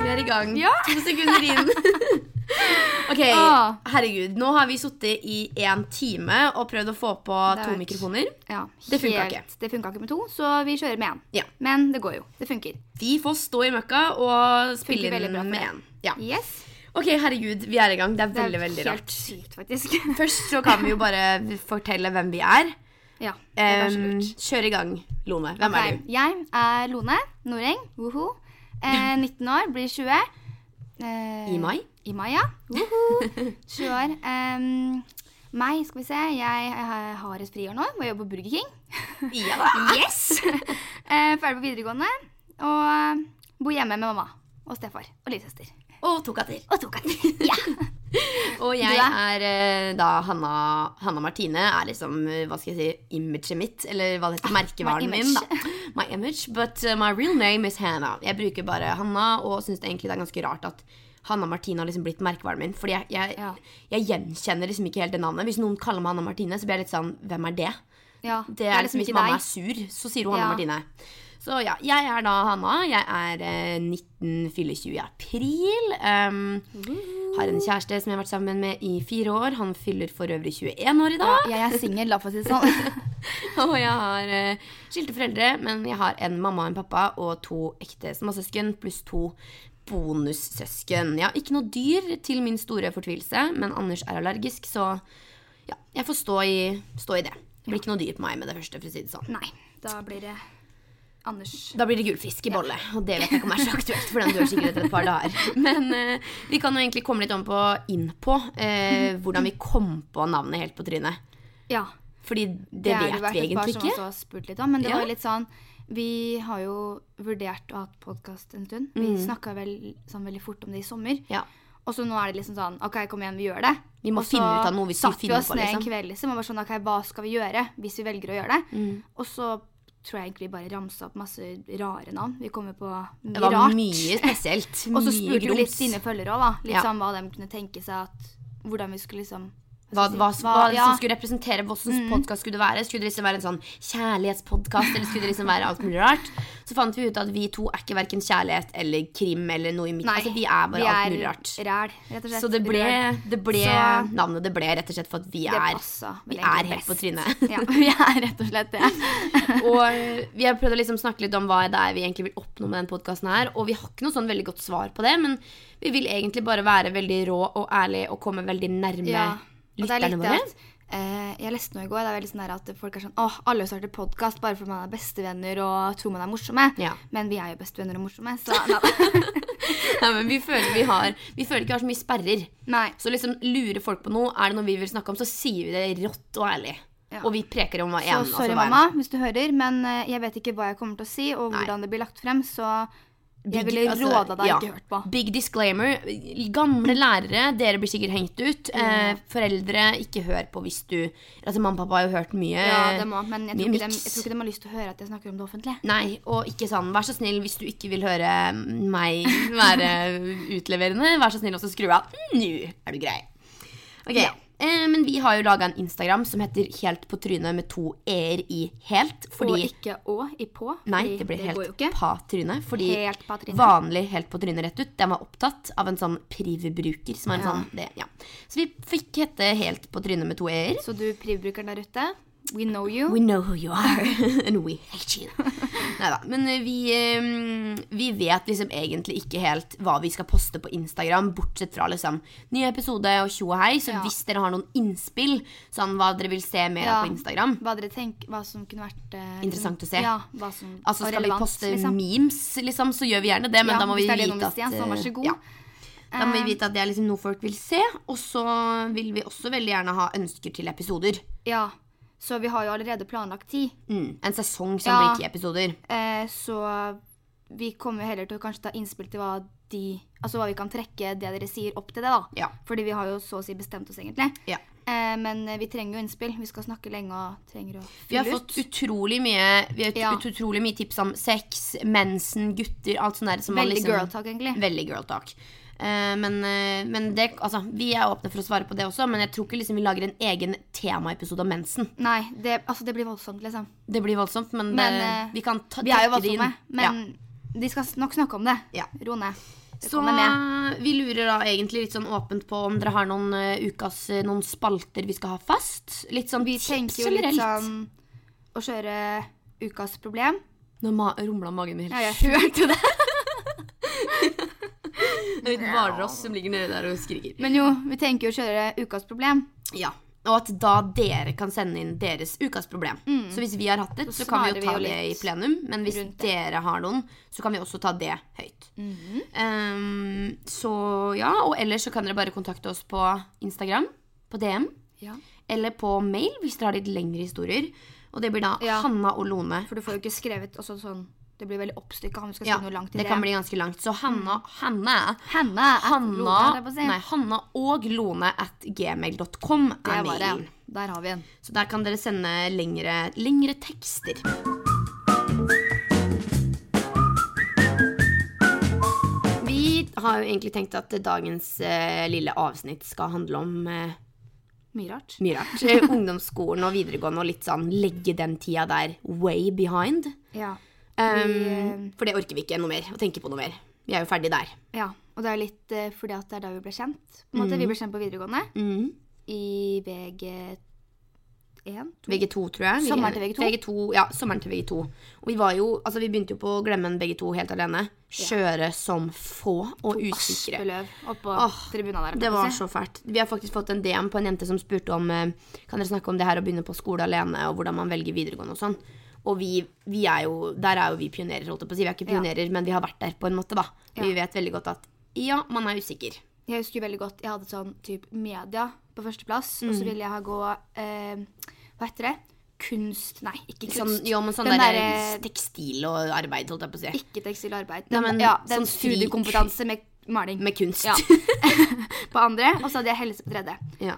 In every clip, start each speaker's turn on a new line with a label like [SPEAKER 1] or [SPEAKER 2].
[SPEAKER 1] vi er i gang.
[SPEAKER 2] Ja.
[SPEAKER 1] To sekunder inn. ok,
[SPEAKER 2] Ah.
[SPEAKER 1] herregud. Nå har vi sittet i én time og prøvd å få på
[SPEAKER 2] Det
[SPEAKER 1] to
[SPEAKER 2] er-
[SPEAKER 1] mikrofoner.
[SPEAKER 2] Ja,
[SPEAKER 1] Det funka
[SPEAKER 2] helt-
[SPEAKER 1] ikke.
[SPEAKER 2] Det funka ikke med to, så vi kjører med én.
[SPEAKER 1] Ja.
[SPEAKER 2] Men det går jo. Det funker.
[SPEAKER 1] De får stå i møkka og spille
[SPEAKER 2] veldig
[SPEAKER 1] inn
[SPEAKER 2] bra for
[SPEAKER 1] med
[SPEAKER 2] det.
[SPEAKER 1] én. Ja.
[SPEAKER 2] Yes.
[SPEAKER 1] Ok, herregud, vi er i gang. Det er
[SPEAKER 2] Det er
[SPEAKER 1] veldig, veldig
[SPEAKER 2] helt
[SPEAKER 1] rart.
[SPEAKER 2] sykt, faktisk.
[SPEAKER 1] Først så kan vi jo bare fortelle hvem vi er.
[SPEAKER 2] ja, det er kanskje
[SPEAKER 1] Um,
[SPEAKER 2] lurt.
[SPEAKER 1] kjør i gang, Lone. Hvem
[SPEAKER 2] Ok,
[SPEAKER 1] er du?
[SPEAKER 2] Jeg er Lone Noreng. Woho. Eh, 19 år, blir 20. Eh,
[SPEAKER 1] I mai?
[SPEAKER 2] I mai, ja. Woho. 20 år. Em, meg, skal vi se. Jeg eh, har et friår nå og jobber på Burger King. Yes! eh, ferdig på videregående. Og eh, bor hjemme med mamma og stefar og lillesøster.
[SPEAKER 1] Og to katter.
[SPEAKER 2] Og to katter. Ja.
[SPEAKER 1] Og jeg
[SPEAKER 2] Du
[SPEAKER 1] er eh, da Hanna, Hanna Martine. Er liksom, eh, hva skal jeg si, imaget mitt. Eller hva det heter, merkevaren
[SPEAKER 2] Ah, my
[SPEAKER 1] min, da. My image. But eh, my real name is Hannah. Jeg bruker bare Hanna, og syns egentlig det er ganske rart at Hanna Martine har liksom blitt merkevaren min. Fordi jeg, jeg,
[SPEAKER 2] Ja.
[SPEAKER 1] jeg gjenkjenner liksom ikke helt det navnet. Hvis noen kaller meg Hanna Martine, så blir jeg litt sånn Hvem er det?
[SPEAKER 2] ja.
[SPEAKER 1] Det er liksom Hvis mamma er
[SPEAKER 2] deg.
[SPEAKER 1] sur, så sier hun Hanna
[SPEAKER 2] Ja.
[SPEAKER 1] Martine. Så ja, jeg er da Hanna. Jeg er eh, 19, fyller 20 i april. Um, har en kjæreste som jeg har vært sammen med i fire år. Han fyller for øvrig 21 år i dag.
[SPEAKER 2] Ja, jeg er singel, la oss si det sånn.
[SPEAKER 1] Og jeg har eh, skilte foreldre, men jeg har en mamma og en pappa og to ekte småsøsken pluss to bonussøsken. Jeg har ikke noe dyr til min store fortvilelse, men Anders er allergisk, så ja, jeg får stå i, stå i det. Det blir ikke noe dyr på meg med det første, for å si det sånn.
[SPEAKER 2] Nei, da blir det Anders.
[SPEAKER 1] Da blir det gullfisk i bolle, og det vet jeg ikke om er så aktuelt for den dør sikkert etter et par dager. Men eh, vi kan jo egentlig komme litt om på, inn på eh, hvordan vi kom på navnet helt på trynet.
[SPEAKER 2] Ja.
[SPEAKER 1] Fordi det,
[SPEAKER 2] har
[SPEAKER 1] vet vi
[SPEAKER 2] vært et par
[SPEAKER 1] egentlig
[SPEAKER 2] som
[SPEAKER 1] ikke.
[SPEAKER 2] også har spurt litt om, men det
[SPEAKER 1] Ja.
[SPEAKER 2] var jo litt sånn Vi har jo vurdert å ha podkast en stund. Vi
[SPEAKER 1] Mm.
[SPEAKER 2] snakket snakka vel sånn veldig fort om det i sommer.
[SPEAKER 1] Ja.
[SPEAKER 2] Og så nå er det liksom sånn OK, kom igjen, vi gjør det.
[SPEAKER 1] Vi må
[SPEAKER 2] Og så
[SPEAKER 1] finne ut av noe vi skal
[SPEAKER 2] satte
[SPEAKER 1] finne
[SPEAKER 2] oss
[SPEAKER 1] på,
[SPEAKER 2] ned
[SPEAKER 1] liksom.
[SPEAKER 2] en kveld liksom, og var sånn OK, hva skal vi gjøre hvis vi velger å gjøre det?
[SPEAKER 1] Mm.
[SPEAKER 2] Og så tror jeg egentlig vi bare ramsa opp masse rare navn. Vi kommer på mye
[SPEAKER 1] Det var
[SPEAKER 2] rart.
[SPEAKER 1] mye spesielt.
[SPEAKER 2] og så
[SPEAKER 1] mye
[SPEAKER 2] spurte vi litt
[SPEAKER 1] grums.
[SPEAKER 2] dine følgere òg, da. Litt
[SPEAKER 1] Ja.
[SPEAKER 2] sånn hva de kunne tenke seg at Hvordan vi skulle liksom
[SPEAKER 1] hva, hva, hva,
[SPEAKER 2] ja.
[SPEAKER 1] som skulle representere hva slags podkast skulle det være. Skulle det liksom være en sånn kjærlighetspodkast, eller skulle det liksom være alt mulig rart? Så fant vi ut at vi to er ikke verken kjærlighet eller krim eller noe i midten. Altså, vi er bare alt mulig rart.
[SPEAKER 2] ræl, rett og slett.
[SPEAKER 1] Så det ble,
[SPEAKER 2] Røl.
[SPEAKER 1] det ble
[SPEAKER 2] Så-
[SPEAKER 1] navnet det ble, rett og slett for at vi
[SPEAKER 2] Det
[SPEAKER 1] er
[SPEAKER 2] passa vel
[SPEAKER 1] vi
[SPEAKER 2] egentlig
[SPEAKER 1] er helt på
[SPEAKER 2] best.
[SPEAKER 1] trynet.
[SPEAKER 2] ja, vi er rett og slett det.
[SPEAKER 1] Og vi har prøvd å liksom snakke litt om hva det er vi egentlig vil oppnå med den podkasten her. Og vi har ikke noe sånn veldig godt svar på det, men vi vil egentlig bare være veldig rå og ærlig og komme veldig nærme
[SPEAKER 2] Ja. Og det er
[SPEAKER 1] lytterne
[SPEAKER 2] litt det
[SPEAKER 1] våre.
[SPEAKER 2] at eh, Jeg leste noe i går. Det er veldig sånn der at folk er sånn Åh, alle starter podkast bare fordi man er bestevenner og tror man er morsomme.
[SPEAKER 1] Ja.
[SPEAKER 2] Men vi er jo bestevenner og morsomme, så nei.
[SPEAKER 1] Nei, men vi føler vi har Vi føler ikke vi har så mye sperrer.
[SPEAKER 2] nei.
[SPEAKER 1] Så liksom lurer folk på noe, er det noe vi vil snakke om, så sier vi det rått og ærlig.
[SPEAKER 2] Ja.
[SPEAKER 1] Og vi preker om hva
[SPEAKER 2] Så
[SPEAKER 1] en
[SPEAKER 2] sorry,
[SPEAKER 1] altså, hva en-
[SPEAKER 2] mamma, hvis du hører, men eh, jeg vet ikke hva jeg kommer til å si, og
[SPEAKER 1] Nei.
[SPEAKER 2] hvordan det blir lagt frem, så jeg
[SPEAKER 1] Big-
[SPEAKER 2] ville
[SPEAKER 1] altså,
[SPEAKER 2] råda deg
[SPEAKER 1] ja.
[SPEAKER 2] ikke hørt på.
[SPEAKER 1] Big disclaimer. Gamle lærere, dere blir sikkert hengt ut. Eh, foreldre, ikke hør på hvis du Altså, Mamma og pappa har jo hørt mye.
[SPEAKER 2] Ja, det må, men jeg
[SPEAKER 1] Eh, mye
[SPEAKER 2] tror, ikke de,
[SPEAKER 1] mix.
[SPEAKER 2] jeg tror ikke de har lyst til å høre at jeg snakker om det offentlige.
[SPEAKER 1] Nei, og ikke sånn Vær så snill, hvis du ikke vil høre meg være utleverende, vær så snill også skru av. Nå er du grei. Ok, eh, Men vi har jo laga en Instagram som heter Helt på trynet med to e-er i helt. Fordi
[SPEAKER 2] Og ikke å i på.
[SPEAKER 1] Nei,
[SPEAKER 2] fordi
[SPEAKER 1] det blir
[SPEAKER 2] går jo
[SPEAKER 1] helt
[SPEAKER 2] ikke.
[SPEAKER 1] pa trynet. Fordi
[SPEAKER 2] Helt på trynet.
[SPEAKER 1] vanlig helt på trynet rett ut, den var opptatt av en sånn privbruker. Som er en
[SPEAKER 2] Ja.
[SPEAKER 1] sånn, det, ja. Så vi fikk hette Helt på trynet med to e-er.
[SPEAKER 2] Så du privbrukeren der ute, we know you.
[SPEAKER 1] We know who you are, and we hate you. Neida, Men eh, vi, eh, vi vet liksom egentlig ikke helt hva vi skal poste på Instagram, bortsett fra liksom ny episode og tjo og hei. Så
[SPEAKER 2] Ja.
[SPEAKER 1] hvis dere har noen innspill, sånn hva dere vil se mer
[SPEAKER 2] Ja.
[SPEAKER 1] av på Instagram,
[SPEAKER 2] Hva dere tenker, hva som kunne vært eh,
[SPEAKER 1] Interessant å se.
[SPEAKER 2] Ja, hva som,
[SPEAKER 1] Altså
[SPEAKER 2] og
[SPEAKER 1] Skal vi
[SPEAKER 2] relevant,
[SPEAKER 1] poste
[SPEAKER 2] liksom.
[SPEAKER 1] memes, liksom, så gjør vi gjerne det. Men
[SPEAKER 2] Ja,
[SPEAKER 1] da må vi
[SPEAKER 2] hvis det er det
[SPEAKER 1] vite
[SPEAKER 2] noen vil
[SPEAKER 1] at
[SPEAKER 2] se, så vær så
[SPEAKER 1] eh,
[SPEAKER 2] god.
[SPEAKER 1] ja. Da
[SPEAKER 2] Eh.
[SPEAKER 1] må vi vite at det er liksom noe folk vil se. Og så vil vi også veldig gjerne ha ønsker til episoder.
[SPEAKER 2] Ja, så vi har jo allerede planlagt tid.
[SPEAKER 1] Mm. En sesong som
[SPEAKER 2] Ja.
[SPEAKER 1] blir ti episoder.
[SPEAKER 2] Eh, så vi kommer heller til å kanskje ta innspill til hva de Altså hva vi kan trekke det dere sier, opp til det, da.
[SPEAKER 1] Ja.
[SPEAKER 2] Fordi vi har jo så å si bestemt oss, egentlig.
[SPEAKER 1] Ja.
[SPEAKER 2] Eh, men eh, vi trenger jo innspill. Vi skal snakke lenge og trenger å
[SPEAKER 1] Vi har
[SPEAKER 2] fylle
[SPEAKER 1] fått utrolig mye Vi har ut-
[SPEAKER 2] Ja.
[SPEAKER 1] ut- utrolig mye tips om sex, mensen, gutter, alt sånt der. Som man
[SPEAKER 2] Veldig
[SPEAKER 1] liksom,
[SPEAKER 2] girl talk, egentlig.
[SPEAKER 1] Veldig girl talk. Eh, men eh, men det, altså, vi er åpne for å svare på det også, men jeg tror ikke liksom vi lager en egen temaepisode om mensen.
[SPEAKER 2] Nei, det, altså det blir voldsomt, liksom.
[SPEAKER 1] Det blir voldsomt, men,
[SPEAKER 2] Men,
[SPEAKER 1] eh,
[SPEAKER 2] eh,
[SPEAKER 1] vi kan ta,
[SPEAKER 2] Vi er jo
[SPEAKER 1] trekke det inn.
[SPEAKER 2] voldsomme,
[SPEAKER 1] Ja.
[SPEAKER 2] men de skal s- nok snakke om det.
[SPEAKER 1] Ja.
[SPEAKER 2] Ro ned. Det
[SPEAKER 1] Så eh,
[SPEAKER 2] kommer med.
[SPEAKER 1] vi lurer da egentlig litt sånn åpent på om dere har noen eh, ukas eh, noen spalter vi skal ha fast. Litt sånn
[SPEAKER 2] Vi
[SPEAKER 1] tips
[SPEAKER 2] tenker jo litt
[SPEAKER 1] generelt.
[SPEAKER 2] sånn å kjøre ukas problem.
[SPEAKER 1] Nå ma rumla magen min
[SPEAKER 2] Ja,
[SPEAKER 1] helt
[SPEAKER 2] jeg hørte det.
[SPEAKER 1] sjukt. Det er litt hvalross som ligger nede der og skriker.
[SPEAKER 2] Men jo, vi tenker jo å kjøre ukas problem.
[SPEAKER 1] Ja. Og at da dere kan sende inn deres ukas problem. Så hvis vi har hatt et,
[SPEAKER 2] Mm. Så
[SPEAKER 1] så kan vi
[SPEAKER 2] svarer
[SPEAKER 1] jo
[SPEAKER 2] vi
[SPEAKER 1] ta
[SPEAKER 2] jo
[SPEAKER 1] det i
[SPEAKER 2] litt
[SPEAKER 1] plenum. Men hvis
[SPEAKER 2] rundt det.
[SPEAKER 1] dere har noen, så kan vi også ta det høyt. Ehm, så ja, og ellers så kan dere bare kontakte oss på Instagram, på DM,
[SPEAKER 2] Ja.
[SPEAKER 1] eller på mail hvis dere har litt lengre historier. Og det blir da
[SPEAKER 2] Ja.
[SPEAKER 1] Hanna og Lone.
[SPEAKER 2] For du får jo ikke skrevet også sånn Det blir veldig oppstykka om vi skal
[SPEAKER 1] Ja,
[SPEAKER 2] skrive noe langt Mm. i
[SPEAKER 1] det kan bli ganske langt. Så Hanna, Hanna
[SPEAKER 2] Hanna,
[SPEAKER 1] Hanna,
[SPEAKER 2] Hanna på å si.
[SPEAKER 1] nei, Hanna og Lone at gmail.com
[SPEAKER 2] Det
[SPEAKER 1] er
[SPEAKER 2] var det.
[SPEAKER 1] mailen.
[SPEAKER 2] Der har vi en.
[SPEAKER 1] Så der kan dere sende lengre, lengre tekster. Vi har jo egentlig tenkt at dagens eh, lille avsnitt skal handle om eh,
[SPEAKER 2] Mye rart.
[SPEAKER 1] mye rart. Eh, Ungdomsskolen og videregående og litt sånn legge den tida der way behind.
[SPEAKER 2] Ja.
[SPEAKER 1] Um,
[SPEAKER 2] Vi, eh,
[SPEAKER 1] for det orker vi ikke noe mer å tenke på noe mer. Vi er jo ferdig der.
[SPEAKER 2] ja. Og det er jo litt eh, fordi at det er da vi ble kjent. På en måte, Vi ble kjent på videregående
[SPEAKER 1] Mm.
[SPEAKER 2] i VG1.
[SPEAKER 1] VG2, tror jeg.
[SPEAKER 2] Sommeren til VG2.
[SPEAKER 1] Ja, sommeren til VG2. Og vi var jo Altså, vi begynte jo på å glemme en begge helt alene. Skjøre som få og usikre.
[SPEAKER 2] Aspeløv oppå
[SPEAKER 1] Åh,
[SPEAKER 2] tribuna der.
[SPEAKER 1] Det
[SPEAKER 2] på å
[SPEAKER 1] var
[SPEAKER 2] si.
[SPEAKER 1] så fælt. Vi har faktisk fått en DM på en jente som spurte om eh, Kan dere snakke om det her å begynne på skole alene, og hvordan man velger videregående og sånn. Og vi, vi er jo Der er jo vi pionerer, holdt jeg på å si. Vi er ikke
[SPEAKER 2] Ja.
[SPEAKER 1] pionerer, men vi har vært der på en måte, da.
[SPEAKER 2] Ja.
[SPEAKER 1] Vi vet veldig godt at ja, man er usikker.
[SPEAKER 2] Jeg husker veldig godt jeg hadde sånn typ media på førsteplass, og
[SPEAKER 1] Mm.
[SPEAKER 2] så ville jeg ha gå eh, Hva heter det? Kunst Nei, ikke kunst.
[SPEAKER 1] Sånn, jo, men sånn
[SPEAKER 2] Den
[SPEAKER 1] der,
[SPEAKER 2] derre-
[SPEAKER 1] tekstil og arbeid, holdt jeg på å si.
[SPEAKER 2] Ikke tekstil og arbeid.
[SPEAKER 1] Nei, men
[SPEAKER 2] ja, den
[SPEAKER 1] sånn fri-
[SPEAKER 2] studiekompetanse med maling
[SPEAKER 1] Med kunst.
[SPEAKER 2] Ja. på andre, og så hadde jeg helse på tredje.
[SPEAKER 1] Ja,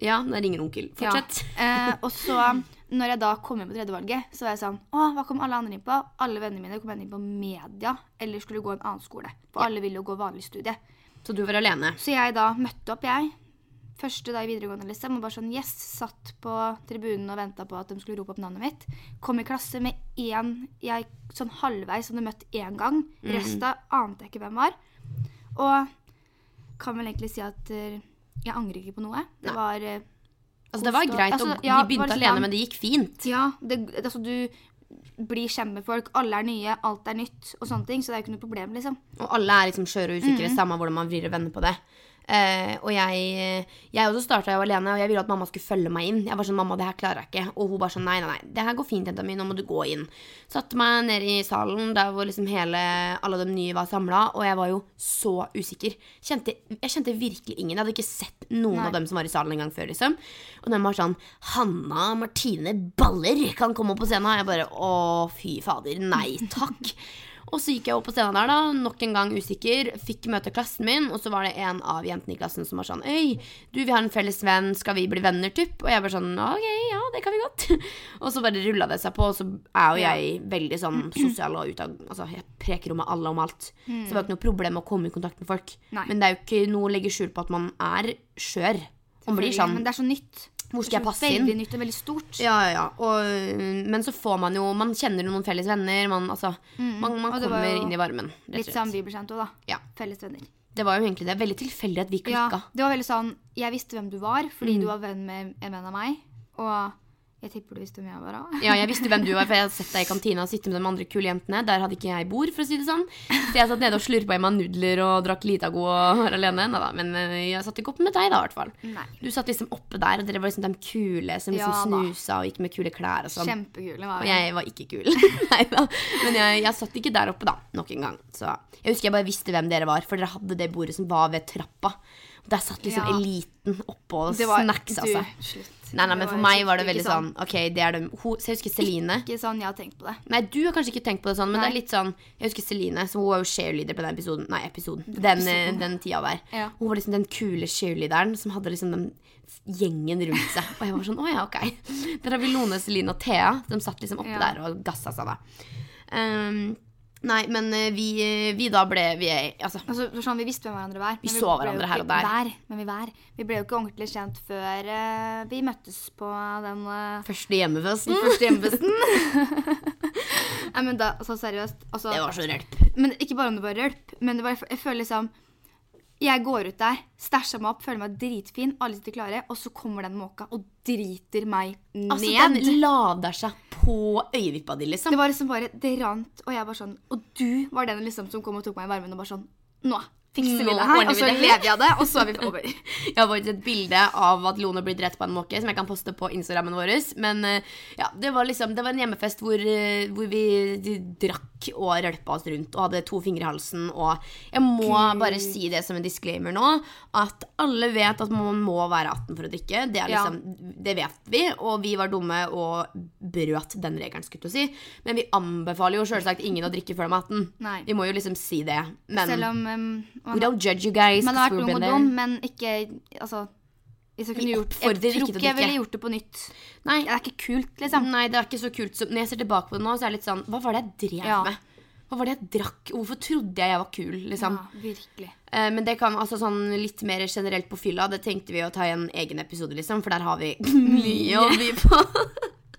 [SPEAKER 1] ja der ringer onkel. Fortsett.
[SPEAKER 2] Ja. Eh, og så, når jeg da kom inn på tredjevalget, så var jeg sånn Å, hva kom alle andre inn på? Alle vennene mine kom inn på media, eller skulle gå en annen skole. For alle ville jo gå vanlig studie.
[SPEAKER 1] Så du var alene.
[SPEAKER 2] Så jeg da møtte opp, jeg. Første dag i videregående, liksom. Og bare sånn yes. Satt på tribunen og venta på at de skulle rope opp navnet mitt. Kom i klasse med én jeg sånn halvveis hadde møtt én gang.
[SPEAKER 1] Mhm.
[SPEAKER 2] Resta ante jeg ikke hvem var. Og kan vel egentlig si at eh, jeg angrer ikke på noe. Det var eh,
[SPEAKER 1] Altså, det var
[SPEAKER 2] Kos og-
[SPEAKER 1] greit, og
[SPEAKER 2] altså,
[SPEAKER 1] vi
[SPEAKER 2] ja,
[SPEAKER 1] begynte
[SPEAKER 2] var det
[SPEAKER 1] alene,
[SPEAKER 2] sånn-
[SPEAKER 1] men det gikk fint.
[SPEAKER 2] Ja, det, altså du blir kjent med folk. Alle er nye, alt er nytt og sånne ting. Så det er jo ikke noe problem, liksom.
[SPEAKER 1] Og alle er liksom skjøre og usikre, samme hvordan man vrir og vender på det. Eh, og jeg, jeg også starta jo alene, og jeg ville at mamma skulle følge meg inn. Jeg var sånn, mamma, det her klarer jeg ikke. Og hun bare sånn, nei, nei, nei, det her går fint, jenta mi, nå må du gå inn. Satte meg ned i salen der hvor liksom hele, alle de nye var samla, og jeg var jo så usikker. Kjente, jeg kjente virkelig ingen. Jeg hadde ikke sett noen av dem som var i salen en gang før, liksom. Og de var sånn, Hanna Martine Baller kan komme opp på scenen. Og jeg bare, å fy fader, nei takk. Og så gikk jeg opp på scenen der, da, nok en gang usikker. Fikk møte klassen min, og så var det en av jentene i klassen som var sånn Øy, du, vi har en felles venn, skal vi bli venner, typ? Og jeg bare sånn OK, ja, det kan vi godt. og så bare rulla det seg på, og så er jo jeg veldig sånn sosial og utad Altså, jeg preker jo med alle om alt. Så det var ikke noe problem å komme i kontakt med folk.
[SPEAKER 2] Mm. Nei.
[SPEAKER 1] Men det er jo ikke noe å legge skjul på at man er skjør. Man blir sånn
[SPEAKER 2] Men det er så nytt.
[SPEAKER 1] Hvor skal jeg
[SPEAKER 2] Det er så
[SPEAKER 1] passe inn?
[SPEAKER 2] Veldig nytt og veldig stort.
[SPEAKER 1] ja, ja, ja. Og, men så får man jo Man kjenner jo noen felles venner. Man, altså, man, man
[SPEAKER 2] Mm. Og det var
[SPEAKER 1] kommer
[SPEAKER 2] jo
[SPEAKER 1] inn i varmen. rett og
[SPEAKER 2] Litt
[SPEAKER 1] slett.
[SPEAKER 2] sånn vi ble kjent òg, da.
[SPEAKER 1] Ja.
[SPEAKER 2] Felles venner.
[SPEAKER 1] Det var jo egentlig det. Veldig tilfeldig at vi
[SPEAKER 2] Ja,
[SPEAKER 1] klikka.
[SPEAKER 2] det var veldig sånn Jeg visste hvem du var,
[SPEAKER 1] Mm.
[SPEAKER 2] fordi du var venn med en venn av meg. Og jeg tipper du visste hvem jeg var òg.
[SPEAKER 1] Ja. jeg visste hvem du var, for jeg hadde sett deg i kantina og sittet med de andre kule jentene. Der hadde ikke jeg bord, for å si det sånn. Så jeg satt nede og slurpa i meg nudler og drakk Litago og var alene. Neida, men eh, jeg satt ikke oppe med deg da, i hvert fall.
[SPEAKER 2] Nei.
[SPEAKER 1] Du satt liksom oppe der, og dere var liksom de kule som liksom
[SPEAKER 2] Ja da.
[SPEAKER 1] snusa og gikk med kule klær og sånn.
[SPEAKER 2] Kjempekule var
[SPEAKER 1] Og
[SPEAKER 2] vi.
[SPEAKER 1] jeg var ikke kul. Neida. Men jeg, jeg satt ikke der oppe, da. Nok en gang. Så jeg husker jeg bare visste hvem dere var, for dere hadde det bordet som var ved trappa. Og der satt liksom
[SPEAKER 2] Ja.
[SPEAKER 1] eliten oppå og
[SPEAKER 2] Det var-
[SPEAKER 1] snaksa
[SPEAKER 2] du,
[SPEAKER 1] seg.
[SPEAKER 2] Slutt.
[SPEAKER 1] altså. Nei, nei,
[SPEAKER 2] Det
[SPEAKER 1] men for meg var det
[SPEAKER 2] ikke
[SPEAKER 1] veldig sånn Ok, det er dem hun, Så jeg husker Celine
[SPEAKER 2] Ikke sånn jeg har tenkt på det.
[SPEAKER 1] Nei, du har kanskje ikke tenkt på det sånn Men det
[SPEAKER 2] Nei.
[SPEAKER 1] er litt sånn Jeg husker Celine Så hun var jo cheerleader på den episoden Nei, episoden Den, eh, den tida der
[SPEAKER 2] Ja.
[SPEAKER 1] Hun var liksom den kule cheerleaderen Som hadde liksom den gjengen rundt seg Og jeg var sånn, åja, ok Der har vi Lone, Celine og Thea De satt liksom oppe
[SPEAKER 2] Ja.
[SPEAKER 1] der og gassa seg da Ehm, Nei, men eh, vi, vi da ble Vi, altså
[SPEAKER 2] Altså, det var sånn, vi visste hvem hverandre var. men
[SPEAKER 1] så
[SPEAKER 2] ble jo
[SPEAKER 1] hverandre
[SPEAKER 2] ikke
[SPEAKER 1] her og der.
[SPEAKER 2] Hver, men vi, var. vi ble jo ikke ordentlig kjent før eh, vi møttes på den eh,
[SPEAKER 1] Første hjemmefesten
[SPEAKER 2] første hjemmefesten. Nei, men da, altså seriøst. Altså,
[SPEAKER 1] Det var så rølp.
[SPEAKER 2] Men ikke bare om det var rølp, men det var, jeg føler liksom Jeg går ut der, stæsjer meg opp, føler meg dritfin, alle sitter klare, og så kommer den måka og driter meg ned.
[SPEAKER 1] Altså, den lada seg på øyevippa di, liksom.
[SPEAKER 2] Det var liksom bare, det rant, og jeg bare sånn Og du var den liksom som kom og tok meg i varmen og bare sånn Nå fikser vi
[SPEAKER 1] Nå
[SPEAKER 2] det her,
[SPEAKER 1] ordner
[SPEAKER 2] og
[SPEAKER 1] vi
[SPEAKER 2] så
[SPEAKER 1] det.
[SPEAKER 2] lever jeg av det, og så er vi over.
[SPEAKER 1] Jeg har faktisk et bilde av at Lone blir drept på en måke, som jeg kan poste på Instagrammen vår. Men eh, ja, det var liksom Det var en hjemmefest hvor, eh, hvor vi d- drakk og rølpa oss rundt og hadde to fingre i halsen og Jeg må bare si det som en disclaimer nå, at alle vet at man må være 18 for å drikke. Det er
[SPEAKER 2] Ja.
[SPEAKER 1] liksom Det vet vi, og vi var dumme og brøt den regelen, skulle jeg til å si. Men vi anbefaler jo selvsagt ingen å drikke før de er 18.
[SPEAKER 2] Nei.
[SPEAKER 1] Vi må jo liksom si det. Men
[SPEAKER 2] Selv om um,
[SPEAKER 1] we
[SPEAKER 2] man,
[SPEAKER 1] don't judge you guys.
[SPEAKER 2] man
[SPEAKER 1] 'cause
[SPEAKER 2] har vært
[SPEAKER 1] we've
[SPEAKER 2] ung
[SPEAKER 1] been
[SPEAKER 2] og
[SPEAKER 1] there.
[SPEAKER 2] dum, men ikke Altså hvis jeg,
[SPEAKER 1] Vi
[SPEAKER 2] kunne gjort, jeg
[SPEAKER 1] oppfordrer
[SPEAKER 2] tror
[SPEAKER 1] ikke til å
[SPEAKER 2] ikke jeg ville
[SPEAKER 1] drikke.
[SPEAKER 2] gjort det på nytt.
[SPEAKER 1] Nei,
[SPEAKER 2] Det er ikke kult, liksom.
[SPEAKER 1] Nei, det er ikke så kult. som- når jeg ser tilbake på det nå, så er jeg litt sånn Hva var det jeg drev
[SPEAKER 2] Ja.
[SPEAKER 1] med? Hva var det jeg drakk? Hvorfor trodde jeg jeg var kul? liksom?
[SPEAKER 2] Ja, virkelig.
[SPEAKER 1] Eh, men det kan altså sånn litt mer generelt på fylla. Det tenkte vi å ta i en egen episode, liksom, for der har vi mye å by på.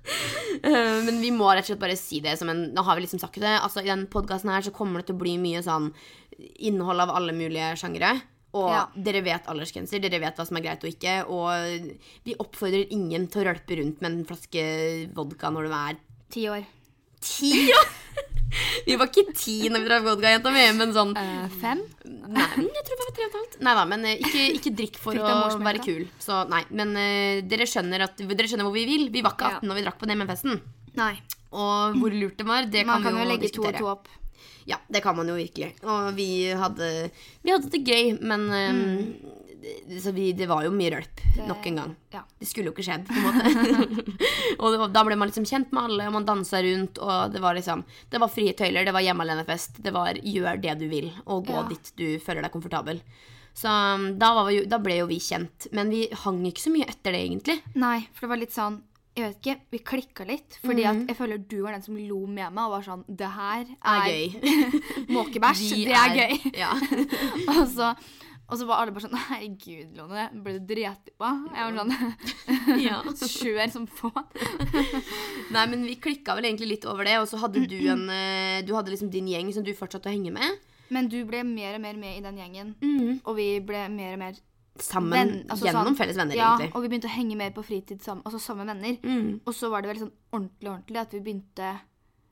[SPEAKER 1] Eh, men vi må rett og slett bare si det som en Nå har vi liksom sagt det. Altså, I den podkasten her så kommer det til å bli mye sånn innhold av alle mulige sjangere. Og
[SPEAKER 2] Ja.
[SPEAKER 1] dere vet aldersgrenser, dere vet hva som er greit og ikke. Og vi oppfordrer ingen til å rølpe rundt med en flaske vodka når du er
[SPEAKER 2] Ti år.
[SPEAKER 1] ti. vi var ikke ti når vi drakk vodka, jenta mi, men sånn
[SPEAKER 2] Eh, fem?
[SPEAKER 1] Nei, men jeg tror det var tre og et halvt. Nei da, men eh, ikke, ikke drikk for
[SPEAKER 2] Fikk
[SPEAKER 1] å
[SPEAKER 2] deg morsmelk,
[SPEAKER 1] være
[SPEAKER 2] da?
[SPEAKER 1] kul. Så nei, men eh, dere, skjønner at, dere skjønner hvor vi vil. Vi var ikke
[SPEAKER 2] Ja.
[SPEAKER 1] 18 når vi drakk på den festen
[SPEAKER 2] Nei.
[SPEAKER 1] Og hvor lurt det var, det
[SPEAKER 2] Man
[SPEAKER 1] kan
[SPEAKER 2] kan jo
[SPEAKER 1] vi jo
[SPEAKER 2] legge to og
[SPEAKER 1] diskutere.
[SPEAKER 2] to opp.
[SPEAKER 1] Ja, det kan man jo virkelig. Og vi hadde, vi hadde det gøy, men eh,
[SPEAKER 2] Mm.
[SPEAKER 1] det- så vi, det var jo mye rølp nok en gang.
[SPEAKER 2] Ja.
[SPEAKER 1] Det skulle jo ikke skjedd, på en måte. og det var- da ble man liksom kjent med alle, og man dansa rundt, og det var liksom Det var frie tøyler, det var hjemmealenefest, det var gjør det du vil, og gå
[SPEAKER 2] Ja.
[SPEAKER 1] dit du føler deg komfortabel. Så um, da, var vi, jo- da ble jo vi kjent. Men vi hang ikke så mye etter det, egentlig.
[SPEAKER 2] Nei, for det var litt sånn Jeg vet ikke, vi klikka litt. Fordi at jeg føler du var den som lo med meg og var sånn Det her
[SPEAKER 1] Det
[SPEAKER 2] er,
[SPEAKER 1] er gøy.
[SPEAKER 2] måkebæsj.
[SPEAKER 1] Vi
[SPEAKER 2] det er, gøy.
[SPEAKER 1] Ja.
[SPEAKER 2] og, så, og så var alle bare sånn Herregud, Lone, ble du dreti på? Jeg var sånn
[SPEAKER 1] ja.
[SPEAKER 2] Skjør som få.
[SPEAKER 1] Nei, men vi klikka vel egentlig litt over det, og så hadde du en eh, Du hadde liksom din gjeng som du fortsatte å henge med.
[SPEAKER 2] Men du ble mer og mer med i den gjengen. Og vi ble mer og mer
[SPEAKER 1] Sammen
[SPEAKER 2] Mm. venn- altså
[SPEAKER 1] gjennom
[SPEAKER 2] sånn-
[SPEAKER 1] felles venner,
[SPEAKER 2] ja,
[SPEAKER 1] egentlig.
[SPEAKER 2] Og vi begynte å henge mer på fritid sammen, altså samme venner.
[SPEAKER 1] Mm.
[SPEAKER 2] Og så var det vel sånn ordentlig ordentlig at vi begynte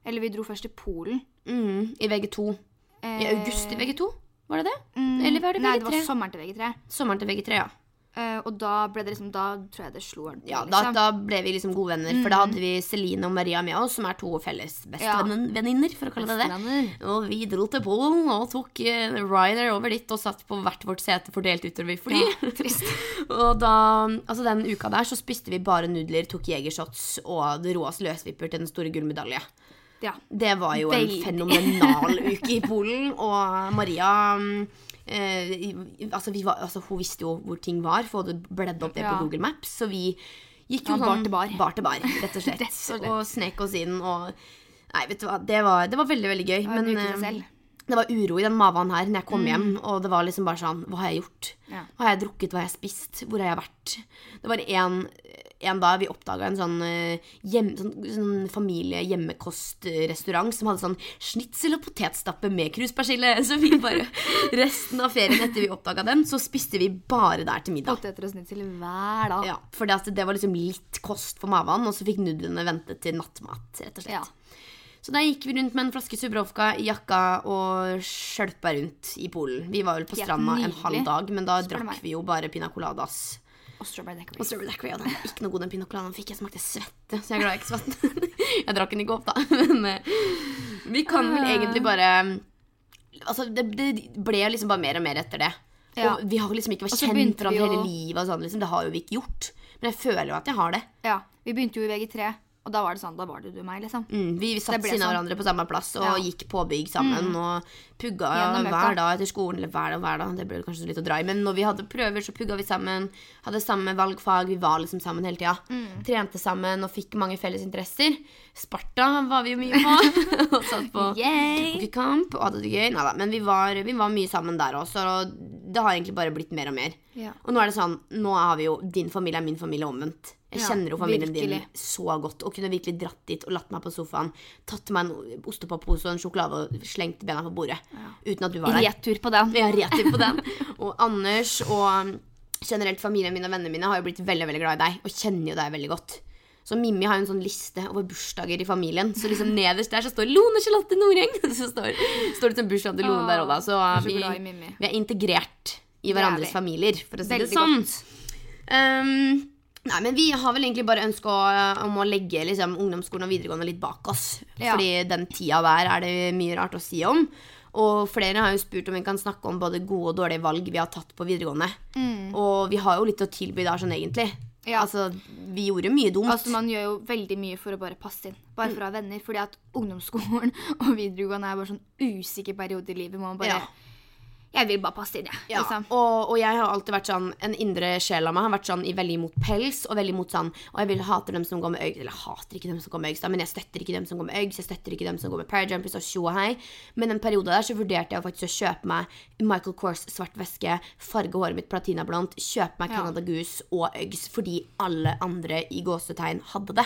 [SPEAKER 2] Eller vi dro først til Polen.
[SPEAKER 1] Mm. I VG2. I
[SPEAKER 2] Eh,
[SPEAKER 1] august i VG2, var det det?
[SPEAKER 2] mm,
[SPEAKER 1] eller var det
[SPEAKER 2] Nei,
[SPEAKER 1] VG3?
[SPEAKER 2] det var sommeren til VG3.
[SPEAKER 1] Sommeren til VG3, ja.
[SPEAKER 2] Eh, og da ble det liksom Da tror jeg det slo ordentlig.
[SPEAKER 1] ja da,
[SPEAKER 2] liksom.
[SPEAKER 1] da ble vi liksom gode venner, for da hadde vi Celine og Maria med oss, som er to felles bestevenninner, for å kalle det det.
[SPEAKER 2] Vestlander.
[SPEAKER 1] Og vi dro til Polen og tok eh, Ryder over dit og satt på hvert vårt sete fordelt utover fly.
[SPEAKER 2] Ja, trist.
[SPEAKER 1] og da, altså den uka der så spiste vi bare nudler, tok jegershots og rå oss løsvipper til den store gullmedalje.
[SPEAKER 2] Ja.
[SPEAKER 1] Det var jo en
[SPEAKER 2] Veldig.
[SPEAKER 1] fenomenal uke i Polen, og Maria mm, eh, i- altså, vi var, altså, Hun visste jo hvor ting var, for hun hadde bledd opp det
[SPEAKER 2] Ja.
[SPEAKER 1] på Google Maps. Så vi gikk jo
[SPEAKER 2] Ja, bar
[SPEAKER 1] sånn
[SPEAKER 2] til bar.
[SPEAKER 1] til bar, rett og slett.
[SPEAKER 2] Rett og slett.
[SPEAKER 1] og snek oss inn og Nei, vet du hva, det var, det var veldig, veldig gøy.
[SPEAKER 2] var en
[SPEAKER 1] Men
[SPEAKER 2] uke til
[SPEAKER 1] eh,
[SPEAKER 2] selv. Mm.
[SPEAKER 1] det var uro i den maven her når jeg kom hjem, og det var liksom bare sånn Hva har jeg gjort?
[SPEAKER 2] Ja.
[SPEAKER 1] Hva har jeg drukket? Hva har jeg spist? Hvor har jeg vært? Det var en, en dag vi oppdaga en sånn, eh, hjem, sånn, sånn familie-hjemmekostrestaurant som hadde sånn snitsel og potetstappe med kruspersille. Så vi bare Resten av ferien etter vi oppdaga den, så spiste vi bare der til middag.
[SPEAKER 2] Poteter og snitsel hver dag.
[SPEAKER 1] Ja, for det, det var liksom litt kost for maven, og så fikk nudlene vente til nattmat, rett og
[SPEAKER 2] Ja.
[SPEAKER 1] slett. Så da gikk vi rundt med en flaske Subrovka i jakka og skjølpa rundt i Polen. Vi var vel på
[SPEAKER 2] Helt
[SPEAKER 1] stranda en
[SPEAKER 2] nydelig.
[SPEAKER 1] halv dag, men da
[SPEAKER 2] Spør du
[SPEAKER 1] drakk
[SPEAKER 2] meg.
[SPEAKER 1] vi jo bare pina coladas.
[SPEAKER 2] Og strawberry
[SPEAKER 1] Og
[SPEAKER 2] decorations.
[SPEAKER 1] strawberry daiquiri, og den var ikke noe god den pina coladaen fikk. Jeg smakte svette, så jeg er glad jeg ikke svette. Jeg drakk den ikke opp, da. Men eh, vi kan vel
[SPEAKER 2] Ah.
[SPEAKER 1] egentlig bare mm, Altså, det, det ble liksom bare mer og mer etter det.
[SPEAKER 2] Ja.
[SPEAKER 1] Og vi har liksom ikke vært
[SPEAKER 2] Og så
[SPEAKER 1] kjent
[SPEAKER 2] begynte vi
[SPEAKER 1] hverandre hele
[SPEAKER 2] jo-
[SPEAKER 1] livet, og sånn, liksom. det har jo vi ikke gjort. Men jeg føler jo at jeg har det.
[SPEAKER 2] Ja. Vi begynte jo i VG3, og da var det sånn Da var det du og meg, liksom.
[SPEAKER 1] Mm, vi satt
[SPEAKER 2] Det
[SPEAKER 1] ved
[SPEAKER 2] ble
[SPEAKER 1] siden av
[SPEAKER 2] sånn.
[SPEAKER 1] hverandre på samme plass og
[SPEAKER 2] Ja. Mm.
[SPEAKER 1] gikk påbygg sammen. Og pugga
[SPEAKER 2] Gjennom øka.
[SPEAKER 1] hver dag etter skolen. Eller hver dag, hver dag. Det ble vel kanskje litt å dra i. Men når vi hadde prøver, så pugga vi sammen. Hadde samme valgfag. Vi var liksom sammen hele tida.
[SPEAKER 2] Mm.
[SPEAKER 1] Trente sammen og fikk mange felles interesser. Sparta var vi jo mye på. og satt på
[SPEAKER 2] Yay!
[SPEAKER 1] hockeykamp og hadde det gøy. Neida, men vi var, vi var mye sammen der også. Og det har egentlig bare blitt mer og mer.
[SPEAKER 2] Ja.
[SPEAKER 1] Og nå er det sånn, nå har vi jo din familie er min familie og omvendt. Jeg
[SPEAKER 2] Ja,
[SPEAKER 1] kjenner jo familien
[SPEAKER 2] virkelig.
[SPEAKER 1] din så godt. Og kunne virkelig dratt dit og latt meg på sofaen, tatt meg en ostepoppose og en sjokolade og slengt bena på bordet. Uten at du var der.
[SPEAKER 2] Retur på den.
[SPEAKER 1] Jeg retur på den. Og Anders og um, generelt familien min og vennene mine har jo blitt veldig veldig glad i deg og kjenner jo deg veldig godt. Så Mimmi har jo en sånn liste over bursdager i familien. Så liksom nederst der så står Lone Charlotte Noreng. Så står, står det som bursdag til Lone der òg, da. Så
[SPEAKER 2] Åh, jeg er så
[SPEAKER 1] vi,
[SPEAKER 2] glad i Mimmi.
[SPEAKER 1] vi er integrert i
[SPEAKER 2] er vi.
[SPEAKER 1] hverandres familier, for å si
[SPEAKER 2] Veldig
[SPEAKER 1] det sånn. Um, nei, men vi har vel egentlig bare ønske å- om å legge liksom, ungdomsskolen og videregående litt bak oss.
[SPEAKER 2] Ja.
[SPEAKER 1] Fordi den tida der er det mye rart å si om. Og flere har jo spurt om vi kan snakke om både gode og dårlige valg vi har tatt på videregående. Og vi har jo litt å tilby der sånn egentlig.
[SPEAKER 2] Mm. Ja.
[SPEAKER 1] Altså, vi gjorde mye dumt.
[SPEAKER 2] Altså Man gjør jo veldig mye for å bare passe inn. Bare for å ha venner. Fordi at ungdomsskolen og videregående er bare sånn usikker periode i livet. hvor Man bare
[SPEAKER 1] Ja.
[SPEAKER 2] Jeg vil bare passe inn, jeg.
[SPEAKER 1] Ja,
[SPEAKER 2] Liksom.
[SPEAKER 1] og, og jeg har alltid vært sånn En indre sjel av meg har vært sånn i veldig imot pels Og veldig imot sånn Og jeg vil hate dem som går med øygs Eller jeg hater ikke dem som går med øygs da, Men jeg støtter ikke dem som går med øygs Jeg støtter ikke dem som går med parajumpers og tjo og hei Men en periode der så vurderte jeg faktisk å kjøpe meg Michael Kors svart veske Farge håret mitt platinablondt Kjøpe meg
[SPEAKER 2] Ja.
[SPEAKER 1] Canada Goose og øygs Fordi alle andre i gåsetegn hadde det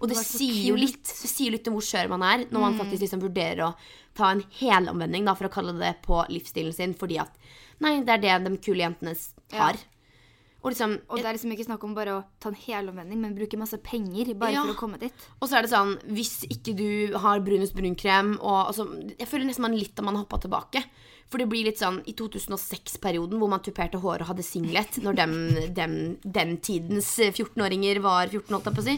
[SPEAKER 1] og det,
[SPEAKER 2] var så
[SPEAKER 1] sier jo
[SPEAKER 2] kult. Mm.
[SPEAKER 1] litt Det sier jo litt om hvor skjør man er når man faktisk liksom vurderer å ta en helomvending da, for å kalle det på livsstilen sin, fordi at Nei, det er det de kule jentene s- har. Og, liksom,
[SPEAKER 2] Og det er liksom ikke snakk om bare å ta en helomvending, men bruke masse penger bare
[SPEAKER 1] Ja.
[SPEAKER 2] for å komme dit.
[SPEAKER 1] og så er det sånn Hvis ikke du har brunest brunkrem og altså, Jeg føler nesten man litt at man har hoppa tilbake. For det blir litt sånn i 2006-perioden hvor man tuperte håret og hadde singlet, når dem, dem, den tidens 14-åringer var 14, holdt jeg på å si,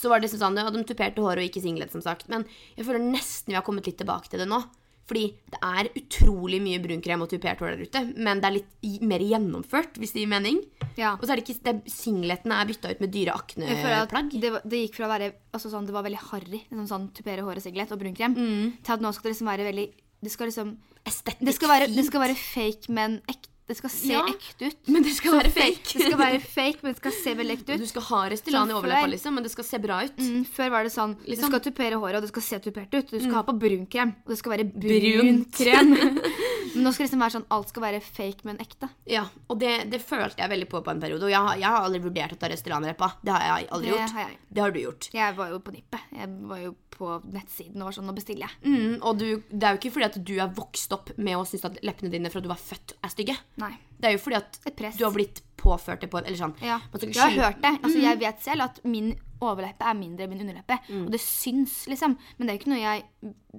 [SPEAKER 1] så var det liksom sånn Ja, de tuperte håret og ikke singlet, som sagt. Men jeg føler nesten vi har kommet litt tilbake til det nå. Fordi det er utrolig mye brunkrem og tupert hår der ute, men det er litt i- mer gjennomført, hvis det gir mening.
[SPEAKER 2] Ja.
[SPEAKER 1] Og så er det ikke det, Singletene er bytta ut med dyre
[SPEAKER 2] Jeg føler at
[SPEAKER 1] akneplagg.
[SPEAKER 2] det, var- det gikk fra å være altså sånn, Det var veldig harry, liksom sånn tupere håret singlet og brunkrem,
[SPEAKER 1] Mm.
[SPEAKER 2] til at nå skal det liksom være veldig Det skal liksom
[SPEAKER 1] Estetikk.
[SPEAKER 2] Det skal være, det
[SPEAKER 1] fint.
[SPEAKER 2] skal være fake, men ekte. Det skal se
[SPEAKER 1] Ja.
[SPEAKER 2] ekte ut.
[SPEAKER 1] Men det skal
[SPEAKER 2] Så
[SPEAKER 1] være fake.
[SPEAKER 2] Det skal være fake, men det skal se veldig ekte
[SPEAKER 1] Du
[SPEAKER 2] ut.
[SPEAKER 1] skal ha Restylane i
[SPEAKER 2] Som
[SPEAKER 1] overleppa,
[SPEAKER 2] før.
[SPEAKER 1] liksom, men det skal se bra ut.
[SPEAKER 2] Mm, før var det sånn Du
[SPEAKER 1] Liksom-
[SPEAKER 2] skal tupere håret, og det skal se tupert ut. Du skal ha på brunkrem, og det skal være brun
[SPEAKER 1] Mm. Brunt.
[SPEAKER 2] krem. men nå skal det liksom være sånn alt skal være fake, men ekte.
[SPEAKER 1] Ja, Og det, det følte jeg veldig på på en periode. Og jeg, har- jeg har aldri vurdert å ta Restylane-leppa. Det har jeg aldri
[SPEAKER 2] Det
[SPEAKER 1] gjort.
[SPEAKER 2] har jeg.
[SPEAKER 1] Det har du gjort.
[SPEAKER 2] Jeg var jo på nippet. Jeg var jo på nettsiden og var sånn Nå bestiller jeg.
[SPEAKER 1] Mm, og du, det er jo ikke fordi at du er vokst opp med å synes at leppene dine fra du var født, er stygge.
[SPEAKER 2] Nei.
[SPEAKER 1] Det er jo fordi at
[SPEAKER 2] Et press.
[SPEAKER 1] du har blitt påført det på Eller sånn.
[SPEAKER 2] Ja.
[SPEAKER 1] Man skal ikke
[SPEAKER 2] Jeg har
[SPEAKER 1] skylde- Mm.
[SPEAKER 2] hørt det. Altså, jeg vet selv at min overleppe er mindre enn min underleppe. Og det syns, liksom. Men det er jo ikke noe jeg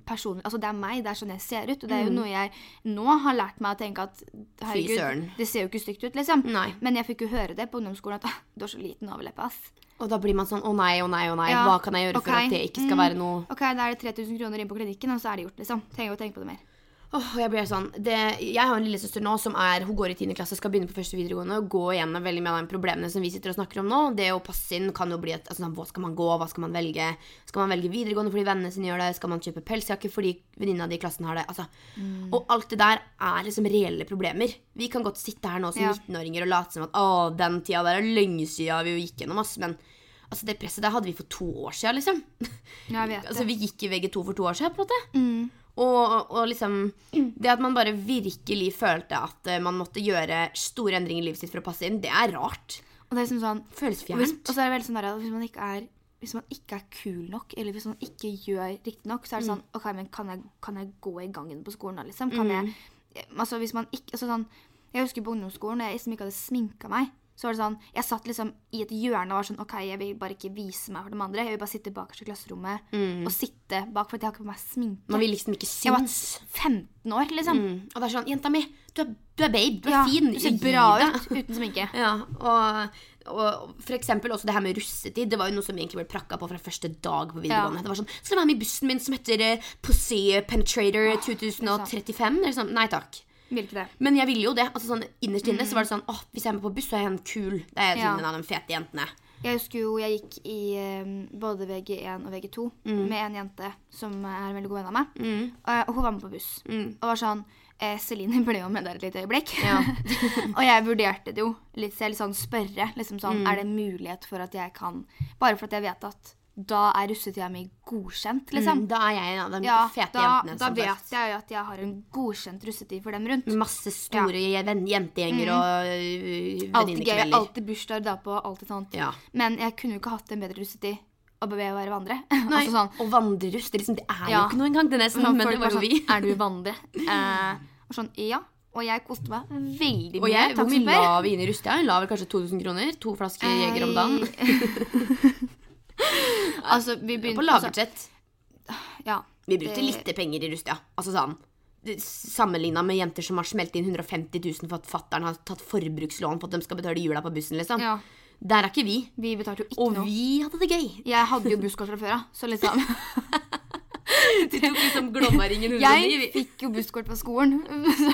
[SPEAKER 2] personlig Altså, det er meg. Det er sånn jeg ser ut. Og det
[SPEAKER 1] Mm.
[SPEAKER 2] er jo noe jeg nå har lært meg å tenke at herregud,
[SPEAKER 1] søren.
[SPEAKER 2] det ser jo ikke stygt ut, liksom.
[SPEAKER 1] Nei.
[SPEAKER 2] Men jeg fikk jo høre det på ungdomsskolen at «Ah, du har så liten overleppe, ass.
[SPEAKER 1] Og da blir man sånn å nei, å nei, å nei.
[SPEAKER 2] Ja,
[SPEAKER 1] Hva kan jeg gjøre for
[SPEAKER 2] ok.
[SPEAKER 1] at det ikke skal
[SPEAKER 2] Mm.
[SPEAKER 1] være noe
[SPEAKER 2] Ok, da er det 3000 kroner inn på klinikken, og så er det gjort, liksom. Trenger jo å tenke på det mer.
[SPEAKER 1] Åh, jeg blir sånn det, Jeg har en lillesøster nå som er Hun går i 10. klasse, skal begynne på første videregående og gå igjennom veldig mye av de problemene som vi sitter og snakker om nå. Det å passe inn kan jo bli et altså, sånn, Hva skal man gå, hva skal man velge? Skal man velge videregående fordi vennene sine gjør det? Skal man kjøpe pelsjakke fordi venninna di i klassen har det? Altså, Og alt det der er liksom reelle problemer. Vi kan godt sitte her nå som
[SPEAKER 2] Ja.
[SPEAKER 1] 19-åringer og late som at å, den tida der er lenge siden vi gikk gjennom, ass. Men altså, det presset der hadde vi for to år siden, liksom.
[SPEAKER 2] Ja, jeg vet
[SPEAKER 1] Altså,
[SPEAKER 2] det.
[SPEAKER 1] vi gikk i VG2 for to år siden, på en måte.
[SPEAKER 2] Mm.
[SPEAKER 1] Og, og liksom Det at man bare virkelig følte at eh, man måtte gjøre store endringer i livet sitt for å passe inn, det er rart.
[SPEAKER 2] Og det er liksom sånn
[SPEAKER 1] Føles
[SPEAKER 2] Og Hvis,
[SPEAKER 1] fjernt.
[SPEAKER 2] og så er det veldig sånn der, at hvis man ikke er hvis man ikke er kul nok, eller hvis man ikke gjør riktig nok, så er det
[SPEAKER 1] Mm.
[SPEAKER 2] sånn OK, men kan jeg, kan jeg gå i gangen på skolen da, liksom? Kan
[SPEAKER 1] Mm.
[SPEAKER 2] jeg Altså, hvis man ikke altså, sånn, Jeg husker på ungdomsskolen da jeg liksom ikke hadde sminka meg. Så var det sånn Jeg satt liksom i et hjørne og var sånn OK, jeg vil bare ikke vise meg for de andre. Jeg vil bare sitte bakerst i klasserommet
[SPEAKER 1] Mm.
[SPEAKER 2] og sitte bak, for at jeg har ikke på meg sminke.
[SPEAKER 1] Man vil liksom ikke
[SPEAKER 2] Jeg var
[SPEAKER 1] synes.
[SPEAKER 2] 15 år, liksom.
[SPEAKER 1] Mm. Og det er sånn Jenta mi, du er, du er babe. Du er
[SPEAKER 2] Ja,
[SPEAKER 1] fin.
[SPEAKER 2] Du ser
[SPEAKER 1] gi
[SPEAKER 2] bra
[SPEAKER 1] deg.»
[SPEAKER 2] ut uten sminke.
[SPEAKER 1] Ja, og, og for eksempel også det her med russetid. Det var jo noe som egentlig ble prakka på fra første dag på videregående.
[SPEAKER 2] Ja.
[SPEAKER 1] Det var sånn Skal du være med i bussen min som heter eh, Pussy Penetrator
[SPEAKER 2] Ah,
[SPEAKER 1] 2035? Eller sånn. Nei takk.
[SPEAKER 2] Vil ikke det.
[SPEAKER 1] Men jeg ville jo det. altså sånn Innerst inne så var det sånn Åh, hvis jeg er med på buss, så er jeg en kul. Det er
[SPEAKER 2] Mm. Ja.
[SPEAKER 1] en av de fete jentene.
[SPEAKER 2] Jeg husker jo jeg gikk i eh, både VG1 og VG2
[SPEAKER 1] Mm.
[SPEAKER 2] med en jente som er en veldig god venn av meg. Eh, og hun var med på buss.
[SPEAKER 1] Mm.
[SPEAKER 2] Og var sånn eh, Celine ble jo med der et lite øyeblikk. og jeg vurderte
[SPEAKER 1] Mm.
[SPEAKER 2] det jo litt selv, sånn spørre. Liksom sånn, Er det mulighet for at jeg kan Bare for at jeg vet at da er russetida mi godkjent, liksom.
[SPEAKER 1] Mm, da er jeg en av de
[SPEAKER 2] Ja,
[SPEAKER 1] fete
[SPEAKER 2] da, da
[SPEAKER 1] jentene. som Mm. bare-
[SPEAKER 2] vet jeg jo at jeg har en godkjent russetid for dem rundt.
[SPEAKER 1] Masse store ven- jentegjenger og
[SPEAKER 2] Alltid Mm.
[SPEAKER 1] øh,
[SPEAKER 2] gøy.
[SPEAKER 1] venninnekvelder.
[SPEAKER 2] Alltid bursdager da på, alltid sånt.
[SPEAKER 1] Ja.
[SPEAKER 2] Men jeg kunne jo ikke hatt en bedre russetid og be være vandre.
[SPEAKER 1] Nei,
[SPEAKER 2] altså sånn,
[SPEAKER 1] Og vandreruss, det, er liksom, det er jo
[SPEAKER 2] Ja.
[SPEAKER 1] ikke noe engang. Det er nesten, Mm, men
[SPEAKER 2] folk
[SPEAKER 1] det var jo
[SPEAKER 2] sånn,
[SPEAKER 1] vi.
[SPEAKER 2] Er du vandre? Eh, og sånn, ja. Og jeg koste meg veldig mye.
[SPEAKER 1] Og jeg,
[SPEAKER 2] takk
[SPEAKER 1] hvor mye
[SPEAKER 2] som spør.
[SPEAKER 1] la vi inn i rustia? Hun la vel kanskje 2000 kroner? To flasker Jeger om dagen?
[SPEAKER 2] altså, vi
[SPEAKER 1] På
[SPEAKER 2] begynte
[SPEAKER 1] lagertsett.
[SPEAKER 2] Altså, ja.
[SPEAKER 1] Vi brukte
[SPEAKER 2] det-
[SPEAKER 1] lite penger i rustia. Altså sånn det- Sammenligna med jenter som har smelt inn 150 000 for at fattern har tatt forbrukslån for at de skal betale jula på bussen, liksom.
[SPEAKER 2] Ja.
[SPEAKER 1] Der er ikke vi.
[SPEAKER 2] Vi betalte jo ikke
[SPEAKER 1] Og
[SPEAKER 2] noe.
[SPEAKER 1] vi hadde det gøy.
[SPEAKER 2] Jeg hadde jo busskort fra før av, så liksom
[SPEAKER 1] Du tok liksom Glommaringen
[SPEAKER 2] Jeg fikk jo busskort på skolen, så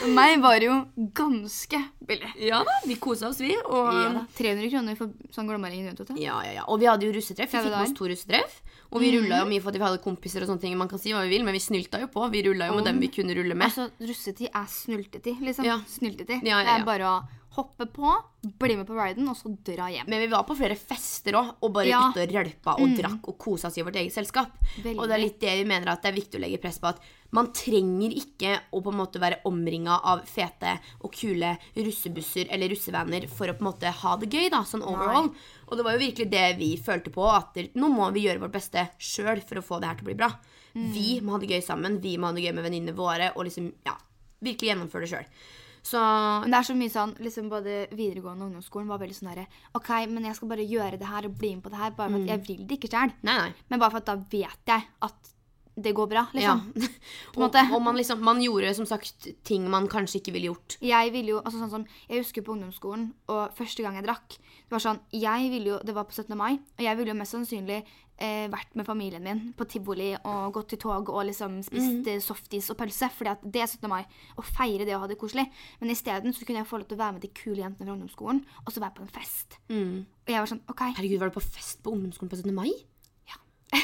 [SPEAKER 2] for meg var det jo ganske billig.
[SPEAKER 1] Ja da, vi kosa oss, vi. Og um,
[SPEAKER 2] Ja, da. 300 kroner for sånn glommaringen rundt. Vet du.
[SPEAKER 1] Ja, ja, Mhm. ja. Og vi hadde jo russetreff. Vi
[SPEAKER 2] Ja, det
[SPEAKER 1] fikk med oss
[SPEAKER 2] der.
[SPEAKER 1] to russetreff. Og vi rulla jo mye for at vi hadde kompiser og sånne ting. Man kan si hva vi vil, men vi snylta jo på. Vi rulla jo med
[SPEAKER 2] Om.
[SPEAKER 1] dem vi kunne rulle med.
[SPEAKER 2] Altså, russetid er snyltetid, liksom.
[SPEAKER 1] Ja.
[SPEAKER 2] Snyltetid.
[SPEAKER 1] Ja, ja,
[SPEAKER 2] Det er
[SPEAKER 1] ja.
[SPEAKER 2] bare å hoppe på, bli med på riden, og så dra hjem.
[SPEAKER 1] Men vi var på flere fester òg, og bare
[SPEAKER 2] Ja. Mm.
[SPEAKER 1] ute og rølpa og drakk og kosa oss i vårt eget selskap.
[SPEAKER 2] Veldig.
[SPEAKER 1] Og det er litt det vi mener at det er viktig å legge press på. At man trenger ikke å på en måte være omringa av fete og kule russebusser eller russevaner for å på en måte ha det gøy, da, sånn overall. Og det var jo virkelig det vi følte på, at det- nå må vi gjøre vårt beste sjøl for å få det her til å bli bra.
[SPEAKER 2] Mm.
[SPEAKER 1] Vi må ha det gøy sammen, vi må ha det gøy med venninnene våre, og liksom, ja, virkelig gjennomføre det sjøl. Så
[SPEAKER 2] Men det er så mye sånn, liksom Både videregående og ungdomsskolen var veldig sånn derre OK, men jeg skal bare gjøre det her og bli med på det her, bare
[SPEAKER 1] Mm.
[SPEAKER 2] for at jeg vil det ikke sjøl.
[SPEAKER 1] Nei, nei.
[SPEAKER 2] Men bare for at da vet jeg at det går bra, liksom.
[SPEAKER 1] Ja.
[SPEAKER 2] en måte.
[SPEAKER 1] Og, og man, liksom, man gjorde som sagt ting man kanskje ikke ville gjort.
[SPEAKER 2] Jeg ville jo, altså sånn som, jeg husker på ungdomsskolen, og første gang jeg drakk, det var sånn, jeg ville jo, det var på 17. mai, og jeg ville jo mest sannsynlig eh, vært med familien min på Tivoli, og gått i tog, og liksom spist eh, softis og pølse, fordi at det er 17. mai, og feire det og ha det koselig. Men i stedet så kunne jeg få lov til å være med de kule jentene fra ungdomsskolen, og så være på en fest. Og jeg var sånn, ok,
[SPEAKER 1] Herregud, var du på fest på ungdomsskolen på 17. mai?
[SPEAKER 2] Ja.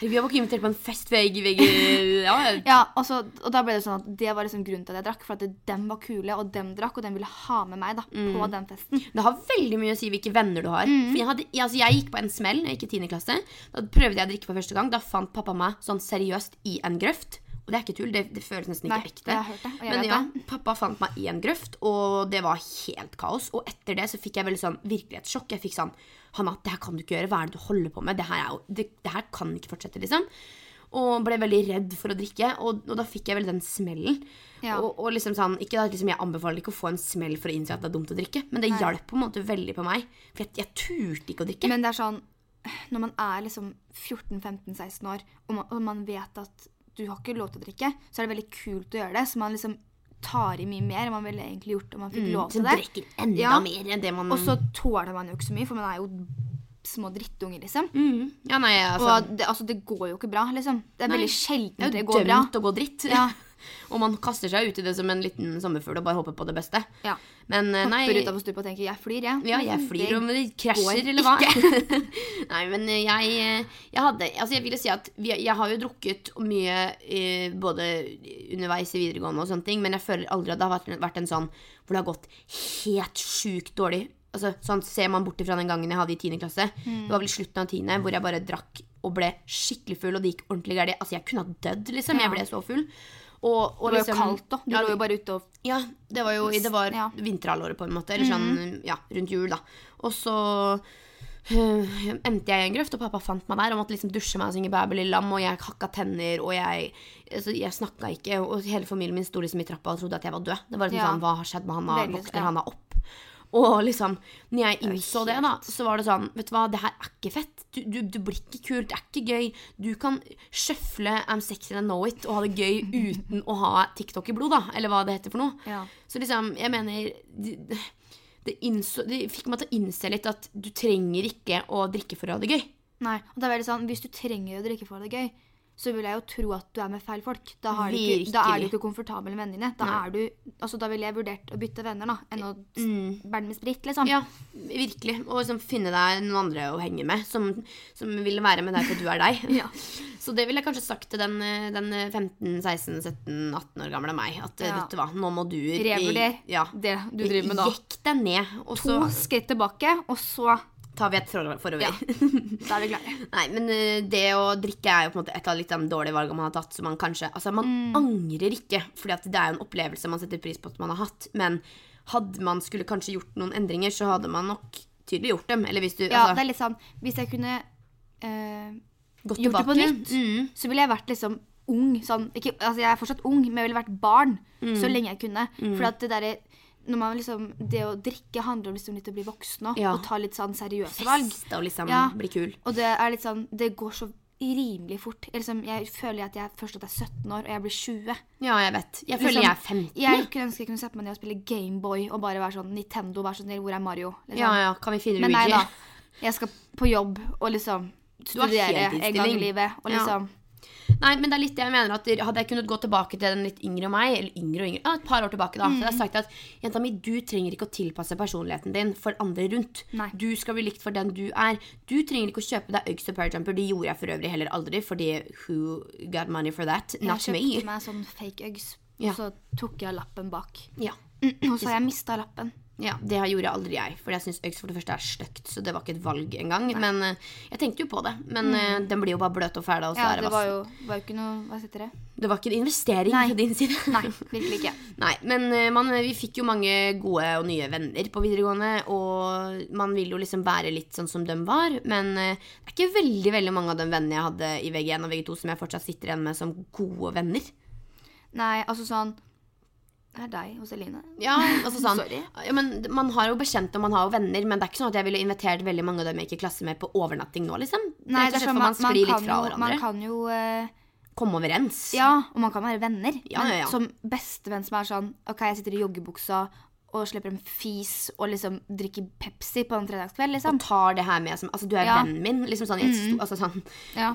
[SPEAKER 1] Herregud, jeg var ikke invitert på en fest ved Egg Vegg ja.
[SPEAKER 2] Ja, og, så, og da ble det sånn at det var liksom grunnen til at jeg drakk, for at dem var kule, og dem drakk, og dem ville ha med meg da, på den festen.
[SPEAKER 1] Det har veldig mye å si hvilke venner du har.
[SPEAKER 2] Mm.
[SPEAKER 1] For jeg, hadde, jeg, altså, jeg gikk på en smell da jeg gikk i 10. klasse. Da prøvde jeg å drikke for første gang. Da fant pappa meg sånn seriøst i en grøft. Og det er ikke tull, det, det føles nesten ikke
[SPEAKER 2] Nei,
[SPEAKER 1] ekte.
[SPEAKER 2] jeg har hørt det, og jeg
[SPEAKER 1] Men
[SPEAKER 2] vet
[SPEAKER 1] ja,
[SPEAKER 2] det.
[SPEAKER 1] pappa fant meg i en grøft, og det var helt kaos. Og etter det så fikk jeg veldig sånn virkelighetssjokk. Jeg fikk sånn Hanna, det her kan du ikke gjøre. Hva er det du holder på med? Det her, er jo, det, det her kan ikke fortsette, liksom. Og ble veldig redd for å drikke, og, og da fikk jeg veldig den smellen.
[SPEAKER 2] Ja.
[SPEAKER 1] Og, og liksom sånn, ikke da, liksom, Jeg anbefaler ikke å få en smell for å innse at det er dumt å drikke, men det hjalp på en måte veldig på meg. For jeg, jeg turte ikke å drikke.
[SPEAKER 2] Men det er sånn Når man er liksom 14-15-16 år, og man, og man vet at du har ikke lov til å drikke, så er det veldig kult å gjøre det. Så man liksom tar i mye mer enn man ville egentlig gjort om man fikk lov
[SPEAKER 1] Mm, så
[SPEAKER 2] til det.
[SPEAKER 1] drikker enda
[SPEAKER 2] Ja.
[SPEAKER 1] mer enn det man
[SPEAKER 2] Og så tåler man jo ikke så mye, for man er jo små drittunger, liksom.
[SPEAKER 1] mm. Ja, nei, altså
[SPEAKER 2] Og det, altså, det går jo ikke bra, liksom. Det er
[SPEAKER 1] Nei.
[SPEAKER 2] veldig sjelden det,
[SPEAKER 1] Det er jo
[SPEAKER 2] går bra.
[SPEAKER 1] dømt å gå dritt.
[SPEAKER 2] Ja.
[SPEAKER 1] og man kaster seg ut i det som en liten sommerfugl og bare håper på det beste.
[SPEAKER 2] Ja.
[SPEAKER 1] Men eh, nei
[SPEAKER 2] Hopper utafor stupet og tenker 'jeg flyr', jeg.
[SPEAKER 1] ja, jeg flyr om Mm, det krasjer,
[SPEAKER 2] går
[SPEAKER 1] eller hva? Nei, men eh, jeg, eh, jeg hadde Altså, jeg ville si at vi, jeg har jo drukket mye eh, både underveis i videregående og sånne ting, men jeg føler aldri at det har vært, vært en sånn hvor det har gått helt sjukt dårlig. Altså, sånn Ser man bort ifra den gangen jeg hadde i 10. klasse,
[SPEAKER 2] Mm.
[SPEAKER 1] det var vel slutten av 10., hvor jeg bare drakk og ble skikkelig full, og det gikk ordentlig galt. Altså, jeg kunne ha dødd, liksom.
[SPEAKER 2] Ja.
[SPEAKER 1] Jeg ble så full. Og,
[SPEAKER 2] Det var
[SPEAKER 1] og
[SPEAKER 2] jo
[SPEAKER 1] liksom-
[SPEAKER 2] kaldt, da. Du
[SPEAKER 1] Ja,
[SPEAKER 2] lå jo bare ute og
[SPEAKER 1] ja, det var jo det var
[SPEAKER 2] Ja. Mhm.
[SPEAKER 1] vinterhalvåret, på en måte. Eller sånn, ja, rundt jul, da. Og så øh, endte jeg i en grøft, og pappa fant meg der og måtte liksom dusje meg og synge 'Bæbel i lam', og jeg hakka tenner, og jeg, altså, jeg snakka ikke, og hele familien min sto liksom i trappa og trodde at jeg var død. Det var liksom
[SPEAKER 2] Ja.
[SPEAKER 1] sånn, hva har skjedd med Hanna?
[SPEAKER 2] Veldig,
[SPEAKER 1] Våkner
[SPEAKER 2] ja.
[SPEAKER 1] Hanna opp? Og liksom, når jeg
[SPEAKER 2] jo
[SPEAKER 1] innså det, da, så var det sånn Vet du hva, det her er ikke fett. Du, du, du blir ikke kult. Det er ikke gøy. Du kan sjøfle I'm sexy and I know it og ha det gøy uten å ha TikTok i blod, da. Eller hva det heter for noe.
[SPEAKER 2] Ja.
[SPEAKER 1] Så liksom, jeg mener det, det, innså, det fikk meg til å innse litt at du trenger ikke å drikke for å ha det gøy.
[SPEAKER 2] Nei, og det er veldig sånn, Hvis du trenger å drikke for det gøy, så vil jeg jo tro at du er med feil folk. Da, har du ikke, da er du
[SPEAKER 1] Virkelig.
[SPEAKER 2] ikke komfortabel med vennene dine. Da, er du, altså, da ville jeg vurdert å bytte venner da, enn å s- bære den med sprit. liksom.
[SPEAKER 1] Mm. Ja, virkelig. Og liksom finne deg noen andre å henge med, som, som vil være med deg for du er deg.
[SPEAKER 2] Ja.
[SPEAKER 1] Så det ville jeg kanskje sagt til den, eh, den 15-16-17-18 år gamle meg. At eh,
[SPEAKER 2] Ja.
[SPEAKER 1] vet du hva, nå må du
[SPEAKER 2] Revurder
[SPEAKER 1] Ja.
[SPEAKER 2] det du driver med da.
[SPEAKER 1] Jekk deg ned. Og
[SPEAKER 2] To
[SPEAKER 1] så
[SPEAKER 2] skritt tilbake, og så
[SPEAKER 1] tar vi et for- forover.
[SPEAKER 2] Ja. Da er vi klare.
[SPEAKER 1] Nei, men eh, det å drikke er jo på en måte et av litt de dårlige valgene man har tatt. Så man kanskje Altså, man
[SPEAKER 2] Mm.
[SPEAKER 1] angrer ikke, Fordi at det er jo en opplevelse man setter pris på at man har hatt. Men hadde man skulle kanskje gjort noen endringer, så hadde man nok tydelig gjort dem. Eller hvis du
[SPEAKER 2] Ja, det
[SPEAKER 1] altså,
[SPEAKER 2] er litt sånn Hvis jeg kunne eh,
[SPEAKER 1] gått
[SPEAKER 2] gjort det
[SPEAKER 1] tilbake.
[SPEAKER 2] på nytt,
[SPEAKER 1] Mm.
[SPEAKER 2] så ville jeg vært liksom ung. Sånn, ikke, altså jeg er fortsatt ung, men jeg ville vært barn
[SPEAKER 1] Mm.
[SPEAKER 2] så lenge jeg kunne. For at det derre når man liksom, Det å drikke handler om liksom litt å bli voksen og,
[SPEAKER 1] Ja.
[SPEAKER 2] og ta litt sånn seriøse valg.
[SPEAKER 1] Fest og liksom
[SPEAKER 2] Ja.
[SPEAKER 1] bli kul.
[SPEAKER 2] Og det er litt sånn Det går så rimelig fort. Jeg, liksom, jeg føler at jeg først at jeg er 17 år, og jeg blir 20.
[SPEAKER 1] Ja, jeg vet. Jeg føler
[SPEAKER 2] Liksom,
[SPEAKER 1] jeg er 15.
[SPEAKER 2] Jeg kunne ønske jeg kunne sette meg ned og spille Gameboy og bare være sånn Nintendo, vær så snill, hvor er Mario? Liksom.
[SPEAKER 1] Ja, ja, kan vi finne
[SPEAKER 2] Men nei
[SPEAKER 1] Luigi?
[SPEAKER 2] da. Jeg skal på jobb og liksom
[SPEAKER 1] har
[SPEAKER 2] studere en gang
[SPEAKER 1] heltidsstilling.
[SPEAKER 2] i livet. Og
[SPEAKER 1] Ja.
[SPEAKER 2] liksom
[SPEAKER 1] Nei, men det er litt det jeg mener at Hadde jeg kunnet gå tilbake til den litt yngre meg Eller yngre og yngre, ja, et par år tilbake da Så
[SPEAKER 2] Mm.
[SPEAKER 1] hadde jeg sagt at Jenta mi, du trenger ikke å tilpasse personligheten din For andre rundt
[SPEAKER 2] Nei.
[SPEAKER 1] Du skal bli likt for den du er Du trenger ikke å kjøpe deg Uggs og Parajumper Det gjorde jeg for øvrig heller aldri Fordi who got money for that? Not
[SPEAKER 2] Jeg
[SPEAKER 1] me
[SPEAKER 2] kjøpte meg sånn fake Uggs,
[SPEAKER 1] Ja.
[SPEAKER 2] og så tok jeg lappen bak.
[SPEAKER 1] ja.
[SPEAKER 2] Og så har jeg mista lappen.
[SPEAKER 1] ja, det gjorde jeg aldri jeg Fordi jeg synes Uggs for det første er støkt Så det var ikke et valg engang Men eh, jeg tenkte jo på det Men eh, den blir jo bare bløt og fæl Og
[SPEAKER 2] Mm.
[SPEAKER 1] så
[SPEAKER 2] Ja,
[SPEAKER 1] er
[SPEAKER 2] det
[SPEAKER 1] det
[SPEAKER 2] var
[SPEAKER 1] vassen
[SPEAKER 2] jo, var jo ikke noe Hva heter det?
[SPEAKER 1] Det var ikke en investering
[SPEAKER 2] Nei.
[SPEAKER 1] fra din side
[SPEAKER 2] Nei, virkelig ikke.
[SPEAKER 1] Nei, men eh, man, vi fikk jo mange gode og nye venner på videregående, og man vil jo liksom være litt sånn som dem var, men eh, det er ikke veldig, veldig mange av de vennene jeg hadde i VG1 og VG2 som jeg fortsatt sitter igjen med som gode venner.
[SPEAKER 2] Nei, altså sånn Det er deg og Celine.
[SPEAKER 1] Ja, altså sånn.
[SPEAKER 2] Sorry.
[SPEAKER 1] Ja, men man har jo bekjent og man har jo venner, men det er ikke sånn at jeg ville invitert veldig mange av dem jeg gikk i klasse med på overnatting nå, liksom.
[SPEAKER 2] Nei,
[SPEAKER 1] Rett og
[SPEAKER 2] det er
[SPEAKER 1] slett
[SPEAKER 2] sånn,
[SPEAKER 1] for
[SPEAKER 2] man,
[SPEAKER 1] man
[SPEAKER 2] man,
[SPEAKER 1] sklir litt
[SPEAKER 2] kan
[SPEAKER 1] fra
[SPEAKER 2] jo, man
[SPEAKER 1] hverandre.
[SPEAKER 2] kan jo eh,
[SPEAKER 1] Komme overens.
[SPEAKER 2] Ja, og man kan være venner.
[SPEAKER 1] Ja, ja, ja.
[SPEAKER 2] Men som bestevenn som er sånn OK, jeg sitter i joggebuksa og slipper en fis og liksom drikker Pepsi på en fredagskveld, liksom.
[SPEAKER 1] Tar det her med som Altså, du er
[SPEAKER 2] Ja.
[SPEAKER 1] vennen min, liksom sånn i et sto- Altså sånn.
[SPEAKER 2] Ja.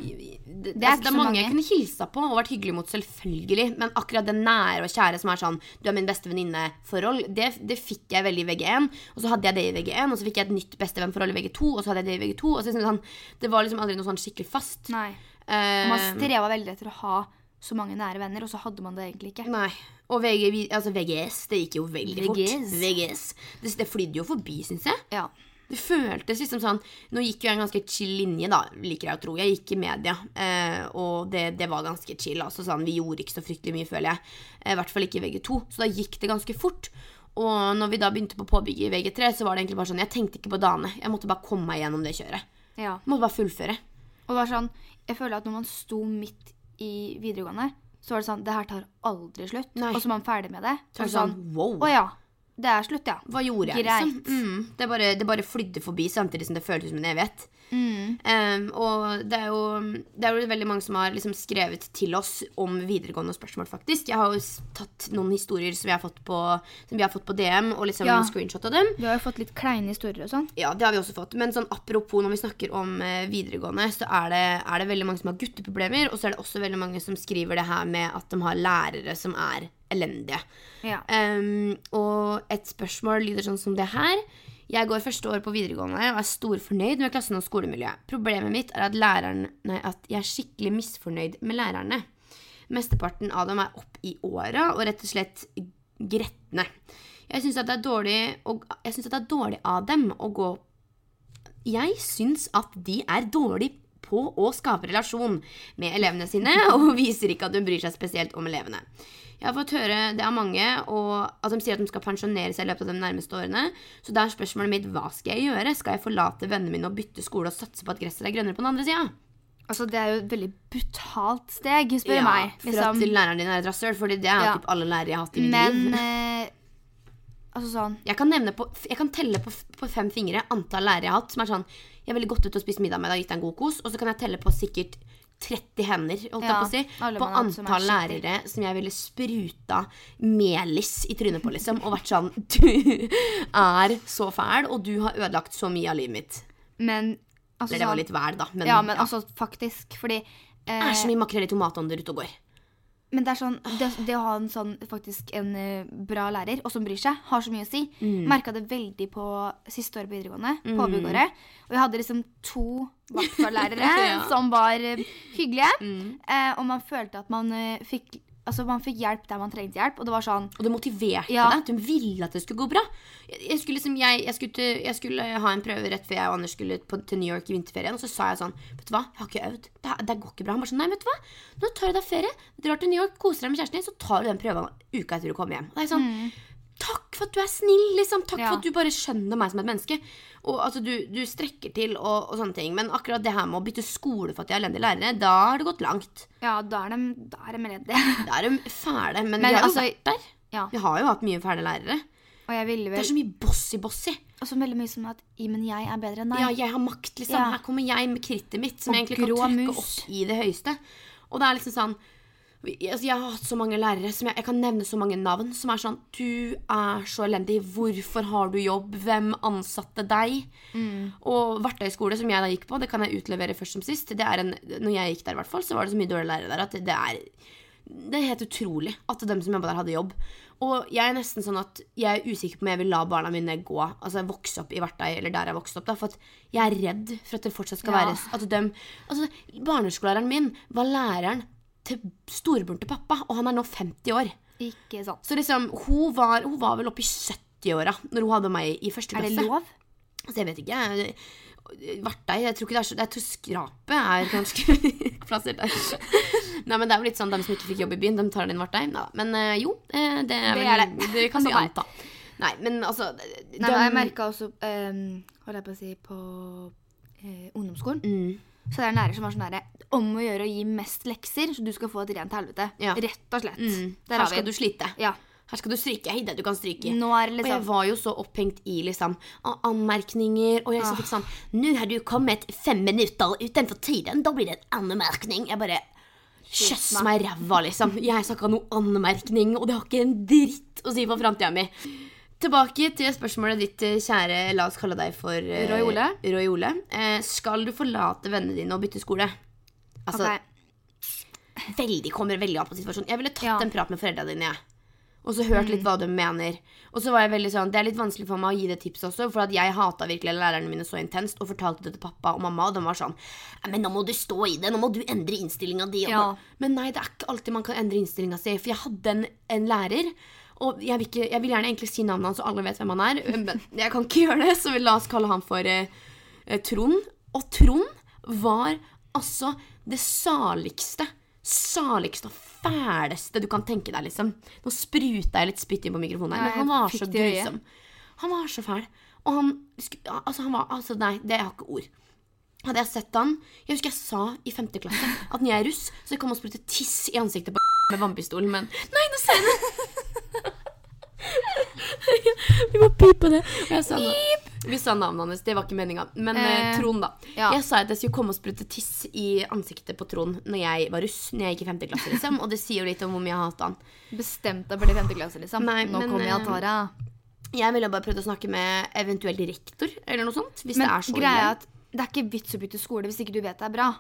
[SPEAKER 2] er ikke
[SPEAKER 1] Det, det, altså, det er
[SPEAKER 2] så
[SPEAKER 1] mange,
[SPEAKER 2] mange.
[SPEAKER 1] jeg kunne hilsa på og vært hyggelig mot, selvfølgelig. Men akkurat det nære og kjære som er sånn 'du er min beste venninne'-forhold, det, det fikk jeg veldig i VG1. Og så hadde jeg det i VG1, og så fikk jeg et nytt bestevennforhold i VG2, og så hadde jeg det i VG2. Og så, liksom sånn, det var liksom aldri noe sånn skikkelig fast.
[SPEAKER 2] Nei. Og man
[SPEAKER 1] Eh,
[SPEAKER 2] streva veldig etter å ha så mange nære venner, og så hadde man det egentlig ikke.
[SPEAKER 1] nei. Og VG, vi- altså VGS, det gikk jo veldig fort.
[SPEAKER 2] VGS.
[SPEAKER 1] VGS. Det, det flydde jo forbi, syns jeg.
[SPEAKER 2] Ja.
[SPEAKER 1] Det føltes liksom sånn Nå gikk jo jeg en ganske chill linje, da, liker jeg å tro. Jeg gikk i media, eh, og det, det var ganske chill. Altså sånn, Vi gjorde ikke så fryktelig mye, føler jeg. Eh, I hvert fall ikke i VG2. Så da gikk det ganske fort. Og når vi da begynte på påbygget i VG3, så var det egentlig bare sånn Jeg tenkte ikke på dagene. Jeg måtte bare komme meg gjennom det kjøret.
[SPEAKER 2] ja.
[SPEAKER 1] Jeg måtte bare fullføre.
[SPEAKER 2] Og det var sånn, jeg føler at når man sto midt i videregående, så var det sånn, det her tar aldri slutt.
[SPEAKER 1] Nei.
[SPEAKER 2] Og så er man ferdig med det. Og
[SPEAKER 1] Så var det sånn, wow.
[SPEAKER 2] Å ja, det er slutt, ja.
[SPEAKER 1] Hva gjorde jeg,
[SPEAKER 2] Greit.
[SPEAKER 1] liksom? Mm, det, bare, det bare flydde forbi, samtidig som det føltes som en evighet.
[SPEAKER 2] Mm.
[SPEAKER 1] Um, og det er, jo, det er jo veldig mange som har liksom skrevet til oss om videregående spørsmål, faktisk. Jeg har jo s- tatt noen historier som, jeg har fått på, som vi har fått på DM, og liksom
[SPEAKER 2] Ja.
[SPEAKER 1] screenshot av dem.
[SPEAKER 2] Vi har jo fått litt kleine historier og sånn.
[SPEAKER 1] Ja, det har vi også fått. Men sånn apropos når vi snakker om eh, videregående, så er det, er det veldig mange som har gutteproblemer, og så er det også veldig mange som skriver det her med at de har lærere som er elendige.
[SPEAKER 2] Ja.
[SPEAKER 1] Um, og et spørsmål lyder sånn som det her. Jeg går første år på videregående og er storfornøyd med klassen og skolemiljøet. Problemet mitt er at, læreren, nei, at jeg er skikkelig misfornøyd med lærerne. Mesteparten av dem er opp i åra og rett og slett gretne. Jeg syns at, det er dårlig å- jeg synes at det er dårlig av dem å gå jeg syns at de er dårlig på å skape relasjon med elevene sine, og viser ikke at hun bryr seg spesielt om elevene. Jeg har fått høre det av mange, og at de sier at de skal pensjonere seg i løpet av de nærmeste årene. Så da er spørsmålet mitt hva skal jeg gjøre? Skal jeg forlate vennene mine og bytte skole og satse på at gresset er grønnere på den andre sida?
[SPEAKER 2] Altså, det er jo et veldig brutalt steg, spør du meg. liksom.
[SPEAKER 1] for at læreren din er et rasshøl, fordi det er
[SPEAKER 2] Ja.
[SPEAKER 1] jo typ alle lærere jeg har hatt i mitt
[SPEAKER 2] Men,
[SPEAKER 1] liv.
[SPEAKER 2] eh, altså sånn,
[SPEAKER 1] Jeg kan, nevne på, jeg kan telle på, f- på fem fingre antall lærere jeg har hatt som er sånn Jeg ville gått ut og spist middag med deg og gitt deg en god kos. Og så kan jeg telle på sikkert 30 hender holdt jeg
[SPEAKER 2] Ja,
[SPEAKER 1] på, å si,
[SPEAKER 2] alle
[SPEAKER 1] på
[SPEAKER 2] man har hatt som er
[SPEAKER 1] antall
[SPEAKER 2] skittig.
[SPEAKER 1] lærere som jeg ville spruta melis i trynet på, liksom. Og vært sånn Du er så fæl, og du har ødelagt så mye av livet mitt.
[SPEAKER 2] men, altså
[SPEAKER 1] Eller det
[SPEAKER 2] sånn.
[SPEAKER 1] var litt væl, da. Men,
[SPEAKER 2] Ja, men altså, faktisk, fordi... eh,
[SPEAKER 1] det er så mye makrell i tomatånder ute og går.
[SPEAKER 2] Men det er sånn, det, det å ha en sånn, faktisk en eh, bra lærer, og som bryr seg, har så mye å si. Merket
[SPEAKER 1] Mm.
[SPEAKER 2] Merka det veldig på siste året på videregående, påbyggåret. Og jeg hadde liksom to vaktfarlærere
[SPEAKER 1] Ja. Mm.
[SPEAKER 2] som var eh, hyggelige. Eh, og man følte at man eh, fikk altså Man fikk hjelp der man trengte hjelp. Og det var sånn
[SPEAKER 1] Og det motiverte
[SPEAKER 2] Ja.
[SPEAKER 1] deg. Du ville at det skulle gå bra. Jeg, jeg, skulle liksom, jeg, jeg, skulle, til- jeg skulle ha en prøve rett før jeg og Anders skulle på, til New York i vinterferien. Og så sa jeg sånn Vet du hva, jeg har ikke øvd. Det, her- det går ikke bra. Han bare sånn Nei, vet du hva. Nå tar du deg ferie. Drar til New York, koser deg med kjæresten din, så tar du den prøven uka etter du kommer hjem. Og det er sånn Takk for at du er snill, liksom. Takk
[SPEAKER 2] Mm. Ja.
[SPEAKER 1] for at du bare skjønner meg som et menneske. Og altså, du, du strekker til og, og sånne ting. Men akkurat det her med å bytte skole for at de er elendige lærere, da har det gått langt.
[SPEAKER 2] Ja, da er de, da er de redde.
[SPEAKER 1] Da er de fæle. Men,
[SPEAKER 2] Men
[SPEAKER 1] vi har jo
[SPEAKER 2] altså-
[SPEAKER 1] vært der.
[SPEAKER 2] ja.
[SPEAKER 1] Vi har jo hatt mye fæle lærere.
[SPEAKER 2] Og jeg ville
[SPEAKER 1] Det er
[SPEAKER 2] vel
[SPEAKER 1] så mye bossy-bossy.
[SPEAKER 2] Og så veldig mye som at I, men jeg er bedre enn deg.
[SPEAKER 1] Ja, jeg har makt, liksom.
[SPEAKER 2] Ja.
[SPEAKER 1] Her kommer jeg med krittet mitt,
[SPEAKER 2] Og
[SPEAKER 1] som jeg egentlig kan
[SPEAKER 2] grå
[SPEAKER 1] trykke
[SPEAKER 2] mus.
[SPEAKER 1] opp i det høyeste. Og det er liksom sånn vi- altså, Jeg har hatt så mange lærere som jeg, jeg kan nevne så mange navn, som er sånn Du er så elendig. Hvorfor har du jobb? Hvem ansatte deg?
[SPEAKER 2] Mm.
[SPEAKER 1] Og Verktøyskole, som jeg da gikk på, det kan jeg utlevere først som sist. Det er en, når jeg gikk der, i hvert fall, så var det så mye dårlige lærere der at det er det er helt utrolig at dem som jobba der, hadde jobb. Og jeg er nesten sånn at jeg er usikker på om jeg vil la barna mine gå Altså vokse opp i Vertøy eller der jeg vokste opp. Da, for at jeg er redd for at det fortsatt skal
[SPEAKER 2] Ja.
[SPEAKER 1] være s- at dem, altså, Barneskolelæreren min var læreren til storebroren til pappa, og han er nå 50 år.
[SPEAKER 2] Ikke sant.
[SPEAKER 1] Så liksom, hun var, hun var vel oppe i 70-åra når hun hadde meg i første
[SPEAKER 2] Er det
[SPEAKER 1] klasse.
[SPEAKER 2] lov?
[SPEAKER 1] Så Altså, jeg vet ikke. jeg- Vartei Jeg tror ikke det er så Jeg tror skrapet er ganske plassert der. Nei, men det er jo litt sånn de som ikke fikk jobb i byen, de tar den Vartei. Neida. Men eh, jo, eh, det er
[SPEAKER 2] Det
[SPEAKER 1] vel
[SPEAKER 2] er det.
[SPEAKER 1] kan vi
[SPEAKER 2] Sånn er det.
[SPEAKER 1] anta. Nei, men altså de,
[SPEAKER 2] Nei, men jeg merka også ehm, Holdt jeg på å si på eh, ungdomsskolen.
[SPEAKER 1] mm,
[SPEAKER 2] Så det er nære som var sånn nære om å gjøre å gi mest lekser, så du skal få et rent helvete.
[SPEAKER 1] Ja.
[SPEAKER 2] Rett og slett.
[SPEAKER 1] mm,
[SPEAKER 2] Der
[SPEAKER 1] Her
[SPEAKER 2] har vi
[SPEAKER 1] skal du
[SPEAKER 2] den.
[SPEAKER 1] slite.
[SPEAKER 2] Ja.
[SPEAKER 1] Her skal du stryke. Hei, det du kan stryke.
[SPEAKER 2] Nå er det
[SPEAKER 1] Og jeg
[SPEAKER 2] liksom
[SPEAKER 1] var jo så opphengt i liksom a- anmerkninger, og jeg så
[SPEAKER 2] Ah.
[SPEAKER 1] fikk sånn Nå har du kommet fem minutter utenfor tiden, da blir det en anmerkning. Jeg bare Kjøss
[SPEAKER 2] meg.
[SPEAKER 1] meg i ræva, liksom. Jeg snakka noe anmerkning, og det har ikke en dritt å si for framtida mi. Tilbake til spørsmålet ditt, eh, kjære La oss kalle deg for eh,
[SPEAKER 2] Roy Ole.
[SPEAKER 1] Roy Ole. Eh, skal du forlate vennene dine og bytte skole? Altså,
[SPEAKER 2] Ok.
[SPEAKER 1] veldig, kommer veldig an på situasjonen. Jeg ville tatt
[SPEAKER 2] Ja. Mm.
[SPEAKER 1] en prat med foreldrene dine, jeg. Og så hørt litt hva de mener. Og så var jeg veldig sånn, Det er litt vanskelig for meg å gi det tipset også, for at jeg hata virkelig lærerne mine så intenst og fortalte det til pappa og mamma, og de var sånn «Nei, Men nå må du stå i det, nå må du endre innstillinga di. og
[SPEAKER 2] Ja.
[SPEAKER 1] nå-» Men nei, det er ikke alltid man kan endre innstillinga si. For jeg hadde en, en lærer, og jeg vil, ikke, jeg vil gjerne egentlig si navnet hans, så alle vet hvem han er, men jeg kan ikke gjøre det, så vi la oss kalle han for eh, eh, Trond. Og Trond var altså det saligste, saligste og fæleste du kan tenke deg, liksom. Nå spruta jeg litt spytt inn på mikrofonen her,
[SPEAKER 2] Nei,
[SPEAKER 1] men han var
[SPEAKER 2] jeg
[SPEAKER 1] så
[SPEAKER 2] fikk det i øyet.
[SPEAKER 1] grusom. Han var så fæl. Og han sku- Altså, han var Altså, nei, det jeg har ikke ord. Hadde jeg sett han Jeg husker jeg sa i femte klasse at når jeg er russ, så kan man sprute tiss i ansiktet på med vannpistolen, men Nei, nå sa jeg det! Vi må pipe det. Og jeg sa det. Vi sa navnet hans. Det var ikke meninga. Men eh,
[SPEAKER 2] Eh,
[SPEAKER 1] Trond, da.
[SPEAKER 2] ja.
[SPEAKER 1] Jeg sa at jeg skulle komme og sprute tiss i ansiktet på Trond når jeg var russ. Når jeg gikk i femte klasse, liksom. Og det sier jo litt om hvor mye jeg hata han.
[SPEAKER 2] Bestemt deg for det femte klasse, liksom.
[SPEAKER 1] Nei,
[SPEAKER 2] Nå
[SPEAKER 1] men,
[SPEAKER 2] kommer
[SPEAKER 1] eh,
[SPEAKER 2] jeg, Tara.
[SPEAKER 1] Jeg ville bare prøvd å snakke med eventuelt rektor, eller noe sånt. Hvis
[SPEAKER 2] Men
[SPEAKER 1] det er så
[SPEAKER 2] greia er
[SPEAKER 1] ille.
[SPEAKER 2] at det er ikke vits å bytte skole hvis ikke du vet det er bra.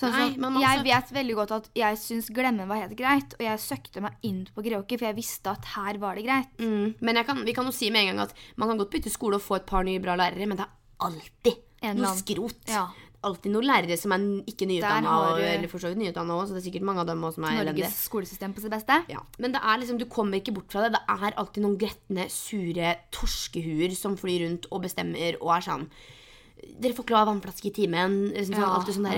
[SPEAKER 2] Sånn
[SPEAKER 1] Nei,
[SPEAKER 2] som,
[SPEAKER 1] men altså- man
[SPEAKER 2] jeg
[SPEAKER 1] også-
[SPEAKER 2] vet veldig godt at jeg syns Glemmen var helt greit, og jeg søkte meg inn på Greåker, for jeg visste at her var det greit.
[SPEAKER 1] Mm. Men jeg kan, vi kan jo si med en gang at man kan godt bytte skole og få et par nye bra lærere, men det er alltid
[SPEAKER 2] En eller
[SPEAKER 1] noe
[SPEAKER 2] annen.
[SPEAKER 1] skrot.
[SPEAKER 2] Ja.
[SPEAKER 1] Alltid noen lærere som er n- ikke nyutdanna,
[SPEAKER 2] har
[SPEAKER 1] og-
[SPEAKER 2] du-
[SPEAKER 1] eller for så vidt nyutdanna òg, så det er sikkert mange av dem òg som er elendige.
[SPEAKER 2] Norges skolesystem på sitt beste.
[SPEAKER 1] Ja. Men det er liksom, du kommer ikke bort fra det. Det er alltid noen gretne, sure torskehuer som flyr rundt og bestemmer og er sånn Dere får ikke lov å ha vannflaske i timen. Liksom, sånn,
[SPEAKER 2] Ja.
[SPEAKER 1] alltid sånn der,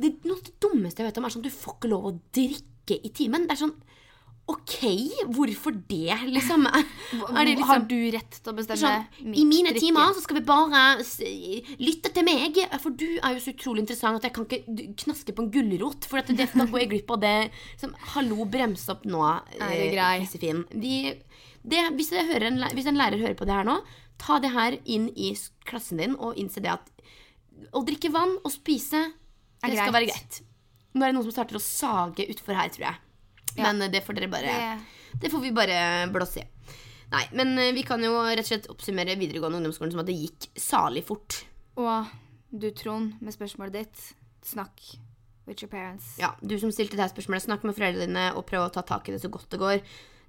[SPEAKER 1] det, noe av det dummeste jeg vet om, er sånn du får ikke lov å drikke i timen. Det er sånn OK, hvorfor det, liksom? Er, er det
[SPEAKER 2] Har
[SPEAKER 1] liksom
[SPEAKER 2] du rett til å bestemme
[SPEAKER 1] Sånn,
[SPEAKER 2] mitt
[SPEAKER 1] I mine
[SPEAKER 2] drikke?
[SPEAKER 1] timer så skal vi bare s- lytte til meg, for du er jo så utrolig interessant at jeg kan ikke d- knaske på en gulrot. For at det, da går jeg glipp av det. Som, hallo, brems opp nå, eh,
[SPEAKER 2] Er du grei?
[SPEAKER 1] Josefin. Vi, det, hvis, jeg hører en, læ- hvis en lærer hører på det her nå, ta det her inn i s- klassen din og innse det at å drikke vann og spise,
[SPEAKER 2] Er
[SPEAKER 1] det skal
[SPEAKER 2] greit.
[SPEAKER 1] være greit. Nå er det noen som starter å sage utfor her, tror jeg.
[SPEAKER 2] Ja.
[SPEAKER 1] Men eh, det får dere bare
[SPEAKER 2] Det-
[SPEAKER 1] det får vi bare blåse i. Nei, men eh, vi kan jo rett og slett oppsummere videregående ungdomsskolen som at det gikk salig fort.
[SPEAKER 2] Og du, Trond, med spørsmålet ditt, snakk with your parents.
[SPEAKER 1] Ja, Du som stilte det her spørsmålet, snakk med foreldrene dine og prøv å ta tak i det så godt det går.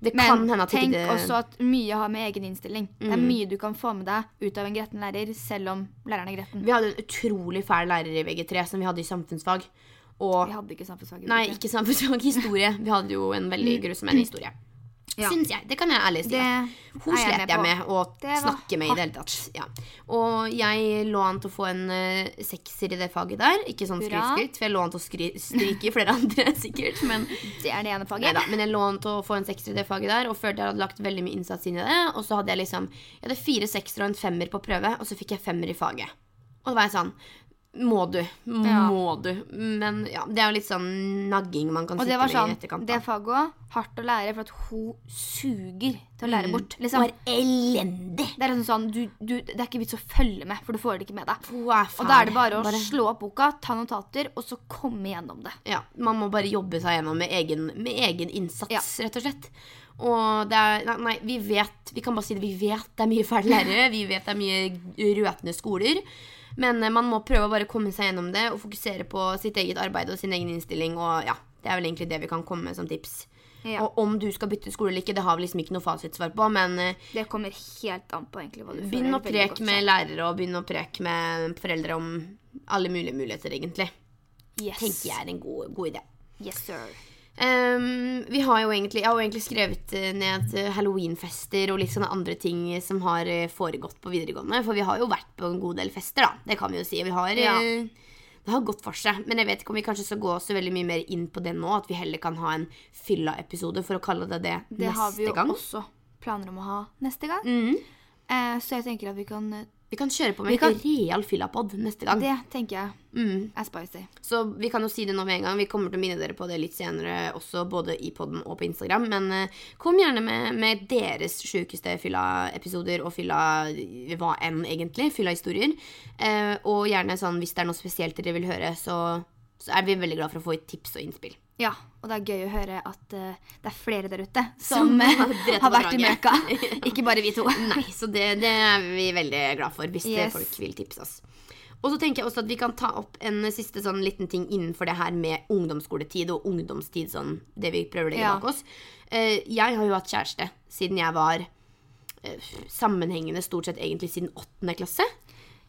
[SPEAKER 1] Det kan
[SPEAKER 2] Men
[SPEAKER 1] hende at
[SPEAKER 2] tenk
[SPEAKER 1] ikke det Mm.
[SPEAKER 2] også at mye har med egen innstilling. Det er mye du kan få med deg ut av en gretten lærer, selv om læreren er gretten.
[SPEAKER 1] Vi hadde en utrolig fæl lærer i VG3 som vi hadde i samfunnsfag. Og
[SPEAKER 2] Vi hadde ikke samfunnsfag. i
[SPEAKER 1] Nei,
[SPEAKER 2] Norge.
[SPEAKER 1] ikke samfunnsfag, historie. Vi hadde jo en veldig grusom historie.
[SPEAKER 2] Ja.
[SPEAKER 1] Syns jeg. Det kan jeg ærlig si.
[SPEAKER 2] Det
[SPEAKER 1] da. Hun
[SPEAKER 2] er jeg
[SPEAKER 1] slet
[SPEAKER 2] med
[SPEAKER 1] jeg
[SPEAKER 2] på.
[SPEAKER 1] med å
[SPEAKER 2] Det var
[SPEAKER 1] snakke med i det hele tatt. Ja. Og jeg lå an til å få en eh, sekser i det faget der. Ikke sånn
[SPEAKER 2] Hurra.
[SPEAKER 1] skrytskryt, for jeg lå an til å skry stryke i flere andre, sikkert. Men,
[SPEAKER 2] Det er det ene faget.
[SPEAKER 1] neida, men jeg lå an til å få en sekser i det faget der, og følte jeg hadde lagt veldig mye innsats inn i det. Og så hadde jeg liksom Jeg hadde fire seksere og en femmer på prøve, og så fikk jeg femmer i faget. Og da var jeg sånn må du. Må
[SPEAKER 2] Ja.
[SPEAKER 1] du. Men ja, det er jo litt sånn nagging man kan
[SPEAKER 2] Og det
[SPEAKER 1] sitte
[SPEAKER 2] var
[SPEAKER 1] med
[SPEAKER 2] sånn,
[SPEAKER 1] i etterkant.
[SPEAKER 2] det faget òg. Hardt å lære, for at hun suger til å lære bort. Liksom.
[SPEAKER 1] liksom. Var elendig.
[SPEAKER 2] Det er liksom sånn, du, du, det er ikke vits å følge med, for du får det ikke med deg.
[SPEAKER 1] Og
[SPEAKER 2] Og da er det bare å slå opp boka, ta notater, og så komme gjennom det.
[SPEAKER 1] ja, Man må bare jobbe seg gjennom med egen, med egen innsats,
[SPEAKER 2] Ja.
[SPEAKER 1] rett og slett. Og det er nei, nei, vi vet Vi kan bare si det. Vi vet det er mye fæle lærere. Vi vet det er mye røtne skoler. Men eh, man må prøve å bare komme seg gjennom det og fokusere på sitt eget arbeid og sin egen innstilling. Og ja, det er vel egentlig det vi kan komme med som tips.
[SPEAKER 2] Ja.
[SPEAKER 1] Og om du skal bytte skole eller ikke, det har vi liksom ikke noe fasitsvar på, men eh,
[SPEAKER 2] Det kommer helt an på egentlig hva du føler.
[SPEAKER 1] Begynn å
[SPEAKER 2] veldig
[SPEAKER 1] preke
[SPEAKER 2] godt
[SPEAKER 1] med
[SPEAKER 2] selv.
[SPEAKER 1] lærere og begynn å preke med foreldre om alle mulige muligheter, egentlig.
[SPEAKER 2] yes.
[SPEAKER 1] Tenker jeg er en god, god idé.
[SPEAKER 2] Yes, sir.
[SPEAKER 1] Ehm, vi har jo egentlig, jeg har jo egentlig skrevet eh, ned eh, halloweenfester og litt sånne andre ting som har eh, foregått på videregående. For vi har jo vært på en god del fester, da. Det kan vi jo si. Vi har, eh,
[SPEAKER 2] Ja.
[SPEAKER 1] Det har gått for seg. Men jeg vet ikke om vi kanskje skal gå så veldig mye mer inn på det nå. At vi heller kan ha en fylla-episode, for å kalle det det,
[SPEAKER 2] Det
[SPEAKER 1] neste
[SPEAKER 2] har vi jo
[SPEAKER 1] gang.
[SPEAKER 2] også planer om å ha neste gang.
[SPEAKER 1] Mhm.
[SPEAKER 2] Eh, så jeg tenker at vi kan
[SPEAKER 1] Vi kan kjøre på med
[SPEAKER 2] Vi kan-
[SPEAKER 1] en real fylla-pod neste gang.
[SPEAKER 2] Det tenker jeg
[SPEAKER 1] Mhm.
[SPEAKER 2] er spicy.
[SPEAKER 1] Så vi kan jo si det nå med en gang. Vi kommer til å minne dere på det litt senere også, både i podden og på Instagram. Men eh, kom gjerne med, med deres sjukeste fylla-episoder og fylla hva enn, egentlig. Fylla-historier. Eh, og gjerne sånn hvis det er noe spesielt dere vil høre, så, så er vi veldig glad for å få tips og innspill.
[SPEAKER 2] Ja, og det er gøy å høre at eh, det er flere der ute som,
[SPEAKER 1] Som
[SPEAKER 2] eh,
[SPEAKER 1] har drept
[SPEAKER 2] har vært i
[SPEAKER 1] hverandre.
[SPEAKER 2] møkka. Ikke bare vi to.
[SPEAKER 1] Nei, så det, det er vi veldig glad for hvis det
[SPEAKER 2] Yes.
[SPEAKER 1] folk vil tipse oss. Og så tenker jeg også at vi kan ta opp en siste sånn liten ting innenfor det her med ungdomsskoletid og ungdomstid, sånn det vi prøver å legge
[SPEAKER 2] Ja.
[SPEAKER 1] bak oss. Eh, jeg har jo hatt kjæreste siden jeg var eh, sammenhengende stort sett egentlig siden åttende klasse.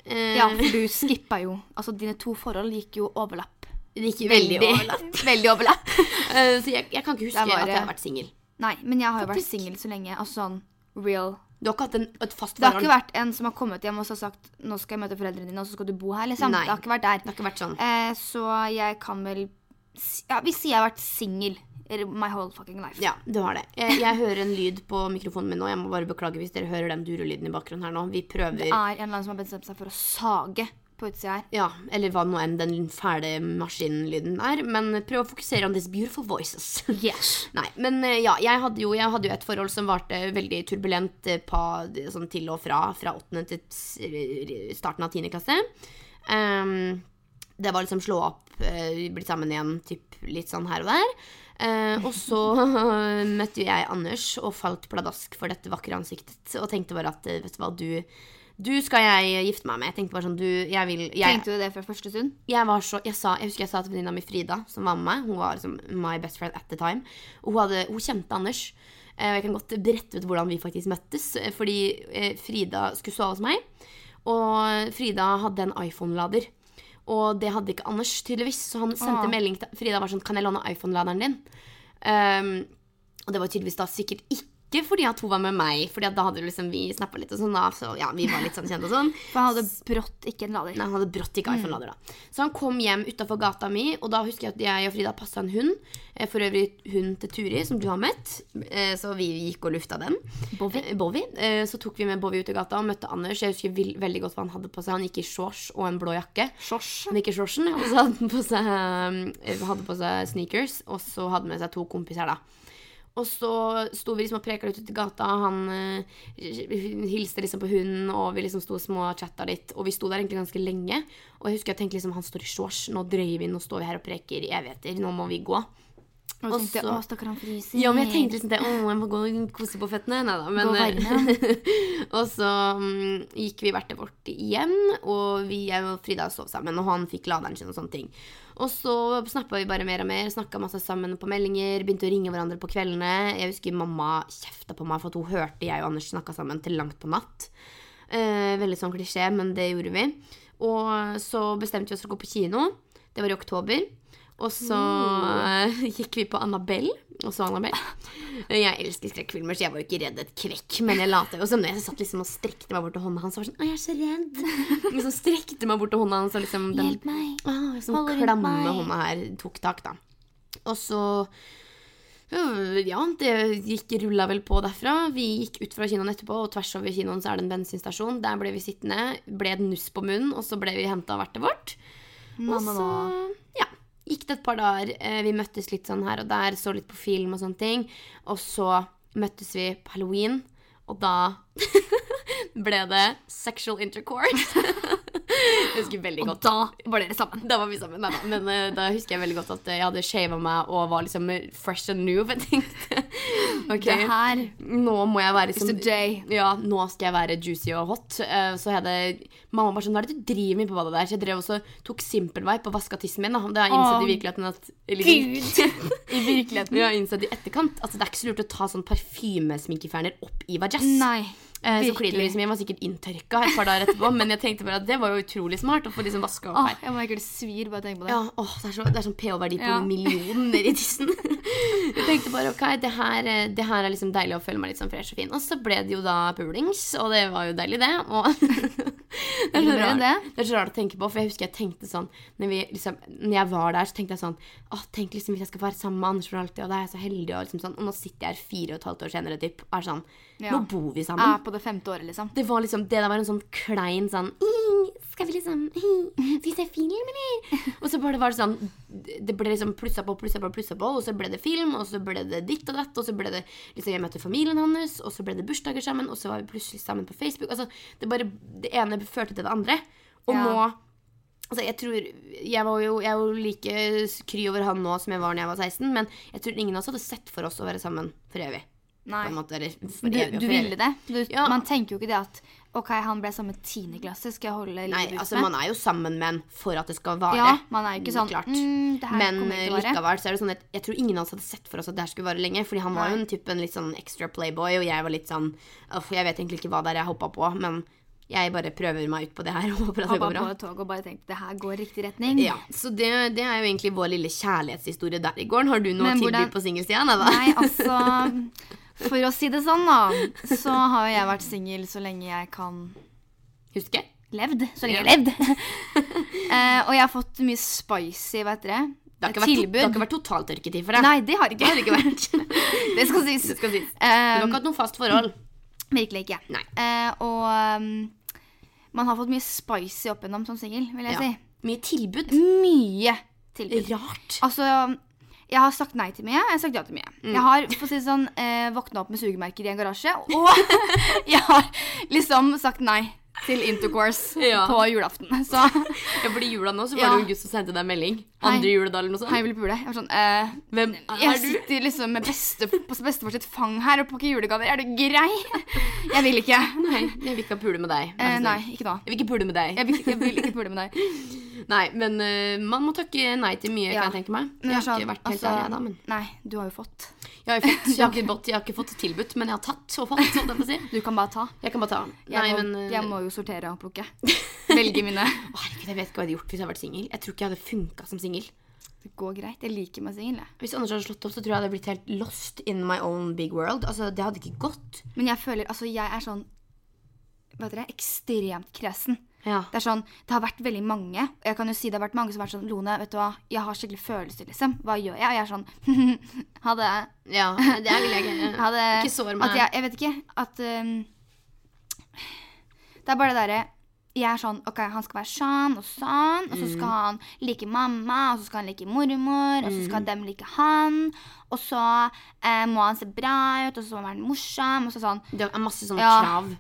[SPEAKER 1] Eh,
[SPEAKER 2] Ja, for du skippa jo. Altså, dine to forhold gikk jo overlapp.
[SPEAKER 1] Det gikk veldig, overlapp.
[SPEAKER 2] Veldig overlapp.
[SPEAKER 1] Eh, så jeg, jeg kan ikke huske
[SPEAKER 2] Det er bare-
[SPEAKER 1] at jeg har vært singel.
[SPEAKER 2] Nei, men jeg har jo vært
[SPEAKER 1] Faktisk.
[SPEAKER 2] singel så lenge. Altså sånn real.
[SPEAKER 1] Du har ikke hatt en, et fast
[SPEAKER 2] Det har
[SPEAKER 1] forhold?
[SPEAKER 2] ikke vært en som har kommet hjem og så sagt 'nå skal jeg møte foreldrene dine', og så skal du bo her, liksom.
[SPEAKER 1] Nei.
[SPEAKER 2] Det har ikke vært der.
[SPEAKER 1] Det har ikke vært sånn.
[SPEAKER 2] Eh, så jeg kan vel si- Ja, vi sier jeg har vært singel my whole fucking life.
[SPEAKER 1] Ja, du har det. Jeg, jeg hører en lyd på mikrofonen min nå. Jeg må bare beklage hvis dere hører den durelyden i bakgrunnen her nå. Vi prøver
[SPEAKER 2] Det er en eller annen som har bestemt seg for å sage på utsida her.
[SPEAKER 1] Ja, eller hva nå enn den fæle maskinlyden er. Men prøv å fokusere on these beautiful voices.
[SPEAKER 2] Yes.
[SPEAKER 1] Nei, men eh, ja, jeg hadde jo, jeg hadde jo et forhold som varte veldig turbulent eh, pa, sånn til og fra, fra 8. til s- r- starten av 10. klasse. Ehm, det var liksom slå opp, eh, bli sammen igjen, typ litt sånn her og der. Eh, og så møtte jo jeg Anders og falt pladask for dette vakre ansiktet. Og tenkte bare at, eh, vet du hva, du, du skal jeg gifte meg med. Jeg tenkte bare sånn, du, jeg vil, jeg,
[SPEAKER 2] Tenkte du det fra første stund?
[SPEAKER 1] jeg var så, jeg, sa, jeg husker jeg sa til venninna mi Frida, som var med meg Hun var liksom my best friend at the time. Og hun, hadde, hun kjente Anders. Eh, og jeg kan godt brette ut hvordan vi faktisk møttes. eh, Fordi eh, Frida skulle sove hos meg, og Frida hadde en iPhone-lader. Og det hadde ikke Anders, tydeligvis. Så han
[SPEAKER 2] Åh.
[SPEAKER 1] sendte melding til Frida var sånn Kan jeg låne iPhone-laderen din? Um, og det var tydeligvis da sikkert ikke fordi at hun var med meg, Fordi at da hadde liksom vi snappa litt og sånn, da. Så ja, vi var litt sånn kjente og sånn.
[SPEAKER 2] For han hadde brått ikke en lader.
[SPEAKER 1] Nei, han hadde brått ikke iPhone-lader da. Så han kom hjem utafor gata mi, og da husker jeg at jeg og Frida passa en hund. Eh, For øvrig hund til Turi, som du har møtt. Eh, Så vi gikk og lufta den.
[SPEAKER 2] Bowie.
[SPEAKER 1] Eh, Bowie. Eh, Så tok vi med Bowie ut i gata og møtte Anders. Jeg husker vel- veldig godt hva han hadde på seg. Han gikk i shorts og en blå jakke.
[SPEAKER 2] Sjosj.
[SPEAKER 1] Men ikke shortsen. Og så hadde han på seg, eh, hadde på seg sneakers, og så hadde med seg to kompiser, da. Og så sto vi liksom og preka litt ute i gata, han eh, hilste liksom på hunden, og vi liksom sto og småchatta litt. Og vi sto der egentlig ganske lenge. Og jeg husker jeg tenkte liksom, han står i shorts, nå drøyer vi, nå står vi her og preker i evigheter, nå må vi gå.
[SPEAKER 2] Og så tenkte jeg,
[SPEAKER 1] Også-
[SPEAKER 2] å, stakkar, han fryser.
[SPEAKER 1] Ja, men jeg tenkte liksom det. Å, jeg må gå og kose på føttene. Nei da, men eh,
[SPEAKER 2] Gå
[SPEAKER 1] Og så mm, gikk vi hvert til vårt hjem, og vi, jeg og Frida sov sammen, og han fikk laderen sin og sånne ting. Og så snappa vi bare mer og mer, snakka masse sammen på meldinger, begynte å ringe hverandre på kveldene. Jeg husker mamma kjefta på meg for at hun hørte jeg og Anders snakka sammen til langt på natt. Eh, veldig sånn klisjé, men det gjorde vi. Og så bestemte vi oss for å gå på kino. Det var i oktober. Og så eh, gikk vi på Annabelle, og så Annabelle. Jeg elsker skrekkfilmer, så jeg var jo ikke redd et kvekk. Men jeg lot jo som det. Jeg satt liksom og strekte meg bort til hånda hans og var sånn Å, jeg er så redd. Men så strekte meg bort til hånda hans og liksom den
[SPEAKER 2] Hjelp meg.
[SPEAKER 1] ah, sånn
[SPEAKER 2] Hold rundt
[SPEAKER 1] klamme
[SPEAKER 2] meg.
[SPEAKER 1] hånda her tok tak, da. Og så øh, Ja, det gikk rulla vel på derfra. Vi gikk ut fra kinoen etterpå, og tvers over kinoen så er det en bensinstasjon. Der ble vi sittende, ble det nuss på munnen, og så ble vi henta av vertet vårt. Og
[SPEAKER 2] Mamma
[SPEAKER 1] så
[SPEAKER 2] nå.
[SPEAKER 1] ja, gikk det et par dager. Eh, Vi møttes litt sånn her og der, så litt på film og sånne ting. Og så møttes vi på halloween, og da ble det sexual intercourse. Jeg husker veldig godt.
[SPEAKER 2] Da var dere sammen.
[SPEAKER 1] Da var vi sammen, nei da. Men eh, da husker jeg veldig godt at eh, jeg hadde shava meg og var liksom fresh and new. For jeg tenkte OK,
[SPEAKER 2] Det her
[SPEAKER 1] nå må jeg være
[SPEAKER 2] is the
[SPEAKER 1] liksom
[SPEAKER 2] day.
[SPEAKER 1] ja, nå skal jeg være juicy og hot. Eh, Så hadde mamma bare sånn, hva er det du driver med på badet der? Så jeg drev også, tok simpelvipe og vasket tissen min. Da. Det har jeg innsett
[SPEAKER 2] Åh,
[SPEAKER 1] i virkeligheten at eller,
[SPEAKER 2] I virkeligheten.
[SPEAKER 1] Vi har innsett i etterkant at det er ikke så lurt å ta sånn parfymesminkeferner opp i vajazz.
[SPEAKER 2] Nei.
[SPEAKER 1] Eh, så
[SPEAKER 2] virkelig.
[SPEAKER 1] klitorisen min var sikkert inntørka et par dager etterpå, men jeg tenkte bare at det var jo utrolig smart å få liksom vaska opp
[SPEAKER 2] Åh,
[SPEAKER 1] her.
[SPEAKER 2] jeg merker det svir bare å tenke på det.
[SPEAKER 1] Ja, åh, det, er så, det er sånn pH-verdi på
[SPEAKER 2] Ja.
[SPEAKER 1] millioner i tissen. Jeg tenkte bare ok, det her, eh, det her er liksom deilig å føle meg litt sånn fresh og fin. Og så ble det jo da pulings, og det var jo deilig, det. Og det, er så
[SPEAKER 2] Gjorde
[SPEAKER 1] rart,
[SPEAKER 2] det?
[SPEAKER 1] det er så rart å tenke på, for jeg husker jeg tenkte sånn Når, vi, liksom, når jeg var der, så tenkte jeg sånn Å, tenk liksom hvis jeg skal være sammen med Anders for alltid, og da er jeg så heldig, og liksom sånn Og nå sitter jeg her fire og et halvt år senere typ, og er sånn
[SPEAKER 2] Ja.
[SPEAKER 1] Nå bor vi sammen.
[SPEAKER 2] Er på det femte året, liksom.
[SPEAKER 1] Det var liksom, det der var en sånn klein sånn «Ih, Skal vi liksom ih, Skal vi se film, eller? Og så bare var det sånn Det ble liksom plussa på, plussa på, plussa på, og så ble det film, og så ble det ditt og datt, og så ble det liksom Jeg møtte familien hans, og så ble det bursdager sammen, og så var vi plutselig sammen på Facebook. Altså, det bare Det ene førte til det andre. Og
[SPEAKER 2] Ja.
[SPEAKER 1] nå Altså, jeg tror Jeg var jo, jeg er jo like kry over han nå som jeg var da jeg var 16, men jeg tror ingen av oss hadde sett for oss å være sammen for evig. På en måte, eller for
[SPEAKER 2] Du,
[SPEAKER 1] evig og
[SPEAKER 2] du
[SPEAKER 1] for evig.
[SPEAKER 2] ville det. Du,
[SPEAKER 1] Ja.
[SPEAKER 2] Man tenker jo ikke det at OK, han ble sammen med tiendeklasse, skal jeg holde
[SPEAKER 1] Nei,
[SPEAKER 2] livet ut
[SPEAKER 1] altså
[SPEAKER 2] med?
[SPEAKER 1] man er jo sammen med en for at det skal vare.
[SPEAKER 2] ja, man er jo ikke sånn
[SPEAKER 1] Klart.
[SPEAKER 2] mm, det her
[SPEAKER 1] Men
[SPEAKER 2] kommer
[SPEAKER 1] eh,
[SPEAKER 2] ikke til å vare.
[SPEAKER 1] likevel så er det sånn at jeg tror ingen av oss hadde sett for oss at det her skulle vare lenge. Fordi han var jo en typen litt sånn extra playboy, og jeg var litt sånn «Uff, Jeg vet egentlig ikke hva det er jeg hoppa på, men jeg bare prøver meg ut på det her og håper at det
[SPEAKER 2] Hoppa på
[SPEAKER 1] går bra.
[SPEAKER 2] et tog og bare tenkte det her går i riktig retning.
[SPEAKER 1] Ja, Så det, det er jo egentlig vår lille kjærlighetshistorie der i gården. Har du noe
[SPEAKER 2] Men
[SPEAKER 1] å tilby
[SPEAKER 2] hvordan-
[SPEAKER 1] på singelsida? Nei da.
[SPEAKER 2] Nei, altså For å si det sånn, da, så har jo jeg vært singel så lenge jeg kan
[SPEAKER 1] Husker jeg.
[SPEAKER 2] levd. Så lenge
[SPEAKER 1] Ja.
[SPEAKER 2] jeg har levd. Eh, og jeg har fått mye spicy, hva heter det?
[SPEAKER 1] Det har ikke vært, to, det har ikke vært totaltørketid for deg.
[SPEAKER 2] Nei, det har ikke.
[SPEAKER 1] Det har det ikke vært.
[SPEAKER 2] Det skal sies.
[SPEAKER 1] Det skal sies. Du
[SPEAKER 2] Eh,
[SPEAKER 1] har ikke hatt noe fast forhold.
[SPEAKER 2] Virkelig ikke.
[SPEAKER 1] Nei.
[SPEAKER 2] Eh, og um, man har fått mye spicy opp gjennom som singel, vil jeg
[SPEAKER 1] Ja. Mye tilbud.
[SPEAKER 2] si. Mye tilbud.
[SPEAKER 1] Rart.
[SPEAKER 2] Altså, jeg har sagt nei til mye, jeg har sagt ja til mye.
[SPEAKER 1] Mm.
[SPEAKER 2] Jeg har for å si det sånn, eh, våkna opp med sugemerker i en garasje, og jeg har liksom sagt nei til intercourse
[SPEAKER 1] Ja.
[SPEAKER 2] på julaften. Så
[SPEAKER 1] Ja, fordi jula nå så
[SPEAKER 2] Ja.
[SPEAKER 1] var det jo August som sendte deg melding.
[SPEAKER 2] Hei.
[SPEAKER 1] Andre juledag eller noe sånt.
[SPEAKER 2] hei, vil du pule? Jeg var sånn eh,
[SPEAKER 1] Hvem
[SPEAKER 2] Jeg
[SPEAKER 1] er du?
[SPEAKER 2] sitter liksom med beste, på bestefar sitt fang her og pakker julegaver. Er du grei? Jeg vil ikke.
[SPEAKER 1] Nei, jeg vil ikke pule med deg.
[SPEAKER 2] Eh,
[SPEAKER 1] vær så snill.
[SPEAKER 2] nei, ikke nå.
[SPEAKER 1] Jeg vil ikke pule med deg.
[SPEAKER 2] Jeg vil, jeg vil ikke pule med deg.
[SPEAKER 1] Nei, men øh, man må takke nei til mye,
[SPEAKER 2] Ja.
[SPEAKER 1] kan jeg tenke meg.
[SPEAKER 2] Men
[SPEAKER 1] Jeg har
[SPEAKER 2] sånn,
[SPEAKER 1] ikke vært helt
[SPEAKER 2] altså,
[SPEAKER 1] ærlig ennå, men
[SPEAKER 2] Nei, du har jo fått.
[SPEAKER 1] jeg har, jo fått, jeg, har ikke fått, jeg har ikke fått tilbudt, men jeg har tatt og fått, holdt jeg på å si.
[SPEAKER 2] Du kan bare ta.
[SPEAKER 1] Jeg kan bare ta.
[SPEAKER 2] Jeg,
[SPEAKER 1] Nei,
[SPEAKER 2] må,
[SPEAKER 1] men øh,
[SPEAKER 2] jeg må jo sortere og plukke. Velge mine.
[SPEAKER 1] Å, herregud, jeg vet ikke hva jeg hadde gjort hvis jeg hadde vært singel. Jeg tror ikke jeg hadde funka som singel.
[SPEAKER 2] Det går greit. Jeg liker meg singel. jeg.
[SPEAKER 1] Hvis Anders hadde slått opp, så tror jeg jeg hadde blitt helt lost in my own big world. Altså, det hadde ikke gått.
[SPEAKER 2] Men jeg føler Altså, jeg er sånn Vet dere, ekstremt kresen.
[SPEAKER 1] Ja.
[SPEAKER 2] Det er sånn, det har vært veldig mange. Og jeg kan jo si det har vært mange som har vært sånn Lone, vet du hva, jeg har skikkelig følelser, liksom. Hva gjør jeg? Og jeg er sånn Ha det.
[SPEAKER 1] ja det vil jeg ikke.
[SPEAKER 2] Ha det.
[SPEAKER 1] Ikke sår meg.
[SPEAKER 2] At jeg, jeg vet ikke. At ehm, Det er bare det derre jeg er sånn, ok, Han skal være sånn og sånn, og så skal
[SPEAKER 1] Mm.
[SPEAKER 2] han like mamma, og så skal han like mormor, og så
[SPEAKER 1] Mm.
[SPEAKER 2] skal dem like han. Og så eh, må han se bra ut, og så må han være morsom. og så sånn.
[SPEAKER 1] Det er masse sånne
[SPEAKER 2] Ja.
[SPEAKER 1] krav.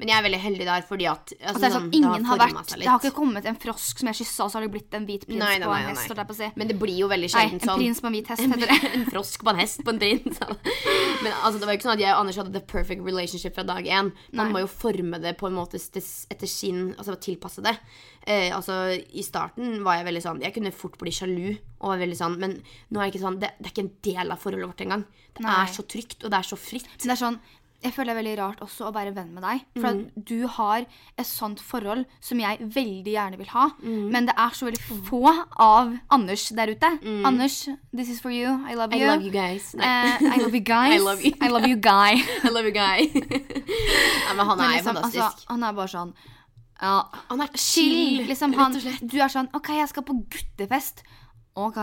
[SPEAKER 1] Men jeg er veldig heldig der fordi at altså,
[SPEAKER 2] Og så er det sånn,
[SPEAKER 1] det
[SPEAKER 2] ingen har
[SPEAKER 1] formet
[SPEAKER 2] vært,
[SPEAKER 1] seg
[SPEAKER 2] Det
[SPEAKER 1] litt.
[SPEAKER 2] har ikke kommet en frosk som jeg kyssa, og så har det blitt en hvit prins
[SPEAKER 1] Nei, nei,
[SPEAKER 2] på
[SPEAKER 1] nei,
[SPEAKER 2] en
[SPEAKER 1] nei,
[SPEAKER 2] hest.
[SPEAKER 1] nei.
[SPEAKER 2] holdt jeg på å si.
[SPEAKER 1] Men det blir jo veldig
[SPEAKER 2] Nei,
[SPEAKER 1] sjelden
[SPEAKER 2] en
[SPEAKER 1] sånn
[SPEAKER 2] prins på en hvit hest heter det.
[SPEAKER 1] en frosk på en hest på en prins. altså. Men altså, det var jo ikke sånn at jeg og Anders hadde the perfect relationship fra dag én. Man må jo forme det på en måte stes- etter sin Altså tilpasse det. Eh, altså, I starten var jeg veldig sånn Jeg kunne fort bli sjalu. Og var veldig sånn, Men nå er jeg ikke sånn, det, det er ikke en del av forholdet vårt engang. Det
[SPEAKER 2] Nei.
[SPEAKER 1] er så trygt, og det er så fritt.
[SPEAKER 2] Men det er sånn, jeg føler det er veldig rart også å være venn med deg. For
[SPEAKER 1] Mm.
[SPEAKER 2] at du har et sånt forhold som jeg veldig gjerne vil ha.
[SPEAKER 1] Mm.
[SPEAKER 2] Men det er så veldig få av Anders der ute. Anders, this is for you. I love
[SPEAKER 1] Mm. I
[SPEAKER 2] you.
[SPEAKER 1] love you guys. Nei,
[SPEAKER 2] Eh, I love you guys.
[SPEAKER 1] I love you.
[SPEAKER 2] I love you guy.
[SPEAKER 1] I love you guy. Nei, men han
[SPEAKER 2] Men
[SPEAKER 1] er
[SPEAKER 2] liksom,
[SPEAKER 1] fantastisk.
[SPEAKER 2] altså, han er bare sånn ja,
[SPEAKER 1] han er
[SPEAKER 2] Chill. Liksom, han,
[SPEAKER 1] rett og slett.
[SPEAKER 2] du er sånn OK, jeg skal på guttefest. OK.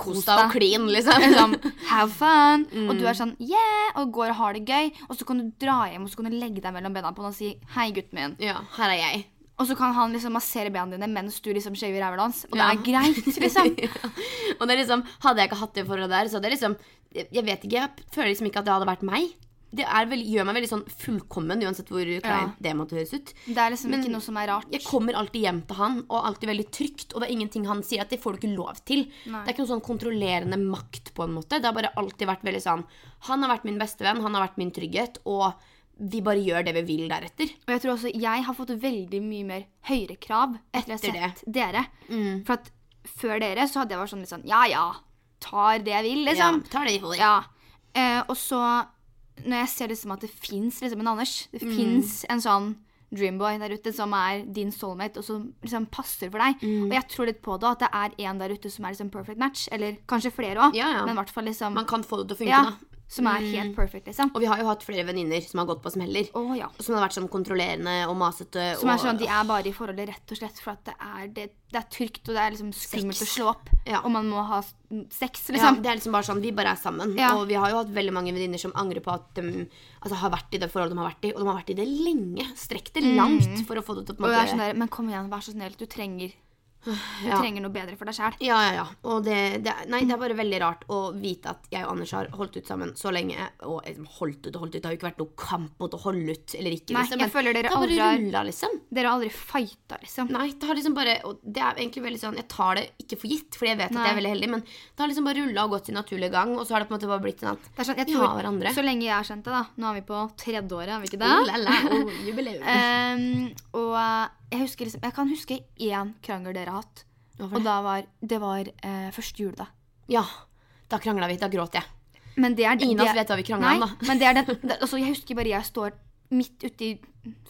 [SPEAKER 1] Kos deg og klin, liksom.
[SPEAKER 2] Liksom, have fun.
[SPEAKER 1] Mm.
[SPEAKER 2] Og du er sånn yeah, og går og har det gøy. Og så kan du dra hjem og så kan du legge deg mellom bena på han og si hei, gutten min.
[SPEAKER 1] Ja, her er jeg.
[SPEAKER 2] Og så kan han liksom massere bena dine mens du liksom shaver ræva hans. Og
[SPEAKER 1] Ja.
[SPEAKER 2] det er greit, liksom.
[SPEAKER 1] Og det er liksom, Hadde jeg ikke hatt det forholdet der, så hadde jeg liksom Jeg jeg vet ikke, jeg føler liksom ikke at det hadde vært meg. Det er veldig- gjør meg veldig sånn fullkommen, uansett hvor kleint det måtte høres ut.
[SPEAKER 2] Det er liksom
[SPEAKER 1] Men
[SPEAKER 2] ikke noe som er rart.
[SPEAKER 1] Jeg kommer alltid hjem til han, og alltid veldig trygt. Og det er ingenting han sier at det får du ikke lov til.
[SPEAKER 2] Nei.
[SPEAKER 1] Det er ikke noe sånn kontrollerende makt, på en måte. Det har bare alltid vært veldig sånn Han har vært min bestevenn, han har vært min trygghet, og vi bare gjør det vi vil deretter.
[SPEAKER 2] Og jeg tror også jeg har fått veldig mye mer høyere krav etter,
[SPEAKER 1] Etter Mm.
[SPEAKER 2] jeg har sett dere. For at før dere så hadde jeg vært sånn litt sånn ja ja, tar det jeg vil,
[SPEAKER 1] Ja,
[SPEAKER 2] liksom.
[SPEAKER 1] tar det i hodet.
[SPEAKER 2] Ja. Eh, og så, når jeg ser liksom at det fins liksom en Anders, det
[SPEAKER 1] Mm.
[SPEAKER 2] fins en sånn dreamboy der ute som er din soulmate, og som liksom passer for deg.
[SPEAKER 1] Mm.
[SPEAKER 2] Og jeg tror litt på det, at det er en der ute som er liksom perfect match, eller kanskje flere òg,
[SPEAKER 1] Ja, ja.
[SPEAKER 2] men i hvert fall liksom
[SPEAKER 1] Man kan få det til å funke,
[SPEAKER 2] ja,
[SPEAKER 1] da.
[SPEAKER 2] Som er helt perfect, liksom.
[SPEAKER 1] Og vi har jo hatt flere venninner som har gått på smeller.
[SPEAKER 2] Å ja.
[SPEAKER 1] Som har vært sånn kontrollerende og masete.
[SPEAKER 2] Som er
[SPEAKER 1] og,
[SPEAKER 2] sånn, De er bare i forholdet rett og slett for at det er, det, det er trygt og det er liksom skummelt å
[SPEAKER 1] Sex.
[SPEAKER 2] slå opp.
[SPEAKER 1] Ja.
[SPEAKER 2] Og man må ha s- sex,
[SPEAKER 1] ja,
[SPEAKER 2] liksom.
[SPEAKER 1] det er liksom bare sånn, Vi bare er sammen.
[SPEAKER 2] Ja.
[SPEAKER 1] Og vi har jo hatt veldig mange venninner som angrer på at de altså, har vært i det forholdet de har vært i. Og de har vært i det lenge. Strekt det langt for å få det til å på
[SPEAKER 2] Mhm. og
[SPEAKER 1] en
[SPEAKER 2] jeg
[SPEAKER 1] måte-
[SPEAKER 2] er sånn der, Men kom igjen, vær så snill. Du trenger, du
[SPEAKER 1] Ja.
[SPEAKER 2] trenger noe bedre for deg sjæl.
[SPEAKER 1] Ja, ja, ja. Og det, det, er- nei, det er bare veldig rart å vite at jeg og Anders har holdt ut sammen så lenge. Og liksom, holdt ut og holdt ut. Det har jo ikke vært noe kamp mot å holde ut eller ikke.
[SPEAKER 2] Nei,
[SPEAKER 1] liksom,
[SPEAKER 2] jeg
[SPEAKER 1] men
[SPEAKER 2] føler dere
[SPEAKER 1] det har
[SPEAKER 2] aldri
[SPEAKER 1] bare
[SPEAKER 2] har-
[SPEAKER 1] rulla, liksom.
[SPEAKER 2] Dere har aldri fighta, liksom.
[SPEAKER 1] Nei, det har liksom bare Og det er egentlig veldig sånn Jeg tar det ikke for gitt, fordi jeg vet at jeg er
[SPEAKER 2] Nei.
[SPEAKER 1] veldig heldig, men det har liksom bare rulla og gått sin naturlige gang, og så har det på en måte bare blitt sånn at
[SPEAKER 2] Det er sånn, jeg
[SPEAKER 1] Vi
[SPEAKER 2] tror,
[SPEAKER 1] har hverandre.
[SPEAKER 2] Så lenge jeg har kjent det, da. Nå er vi på tredje året, er vi ikke det?
[SPEAKER 1] oh, la, la, oh, jubileum.
[SPEAKER 2] Ehm, og jeg, husker, liksom, jeg kan huske én krangel dere har hatt.
[SPEAKER 1] Hvorfor
[SPEAKER 2] Og
[SPEAKER 1] det?
[SPEAKER 2] da var, det var eh, første juledag.
[SPEAKER 1] Ja. Da krangla vi. Da gråt jeg.
[SPEAKER 2] Men det er
[SPEAKER 1] Ingen av oss vet hva vi krangla om,
[SPEAKER 2] Nei,
[SPEAKER 1] da.
[SPEAKER 2] men det er den, det, altså, jeg husker bare jeg står midt ute i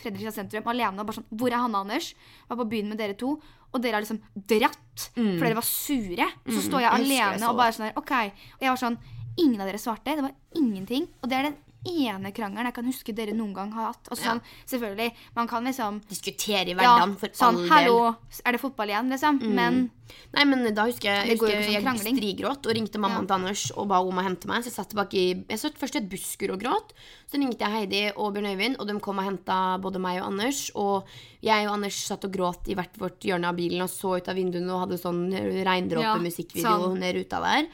[SPEAKER 2] Fredrikstad sentrum alene og bare sånn Hvor er Hanne og Anders? Var på byen med dere to. Og dere har liksom dratt, for dere var sure. Så står jeg
[SPEAKER 1] Mm. jeg husker jeg
[SPEAKER 2] alene
[SPEAKER 1] så
[SPEAKER 2] og bare sånn der, OK. Og jeg var sånn Ingen av dere svarte. Det var ingenting. Og det er den ene krangelen jeg kan huske dere noen gang har hatt. Og sånn, selvfølgelig, man kan liksom
[SPEAKER 1] Diskutere
[SPEAKER 2] ja,
[SPEAKER 1] i hverdagen for
[SPEAKER 2] sånn,
[SPEAKER 1] all del. Mm.
[SPEAKER 2] Hallo, er det fotball igjen, liksom? Men
[SPEAKER 1] Nei, men da husker jeg,
[SPEAKER 2] Det går jo
[SPEAKER 1] husker
[SPEAKER 2] ikke som
[SPEAKER 1] jeg
[SPEAKER 2] sånn krangling.
[SPEAKER 1] strigråt og ringte mammaen til Anders og ba om å hente meg. Så jeg satt bak i Jeg satt først i et busskur og gråt. Så ringte jeg Heidi og Bjørn Øyvind, og de kom og henta både meg og Anders. Og jeg og Anders satt og gråt i hvert vårt hjørne av bilen og så ut av vinduene og hadde sånn regndråpemusikkvideo
[SPEAKER 2] Ja, sånn.
[SPEAKER 1] ned ruta der.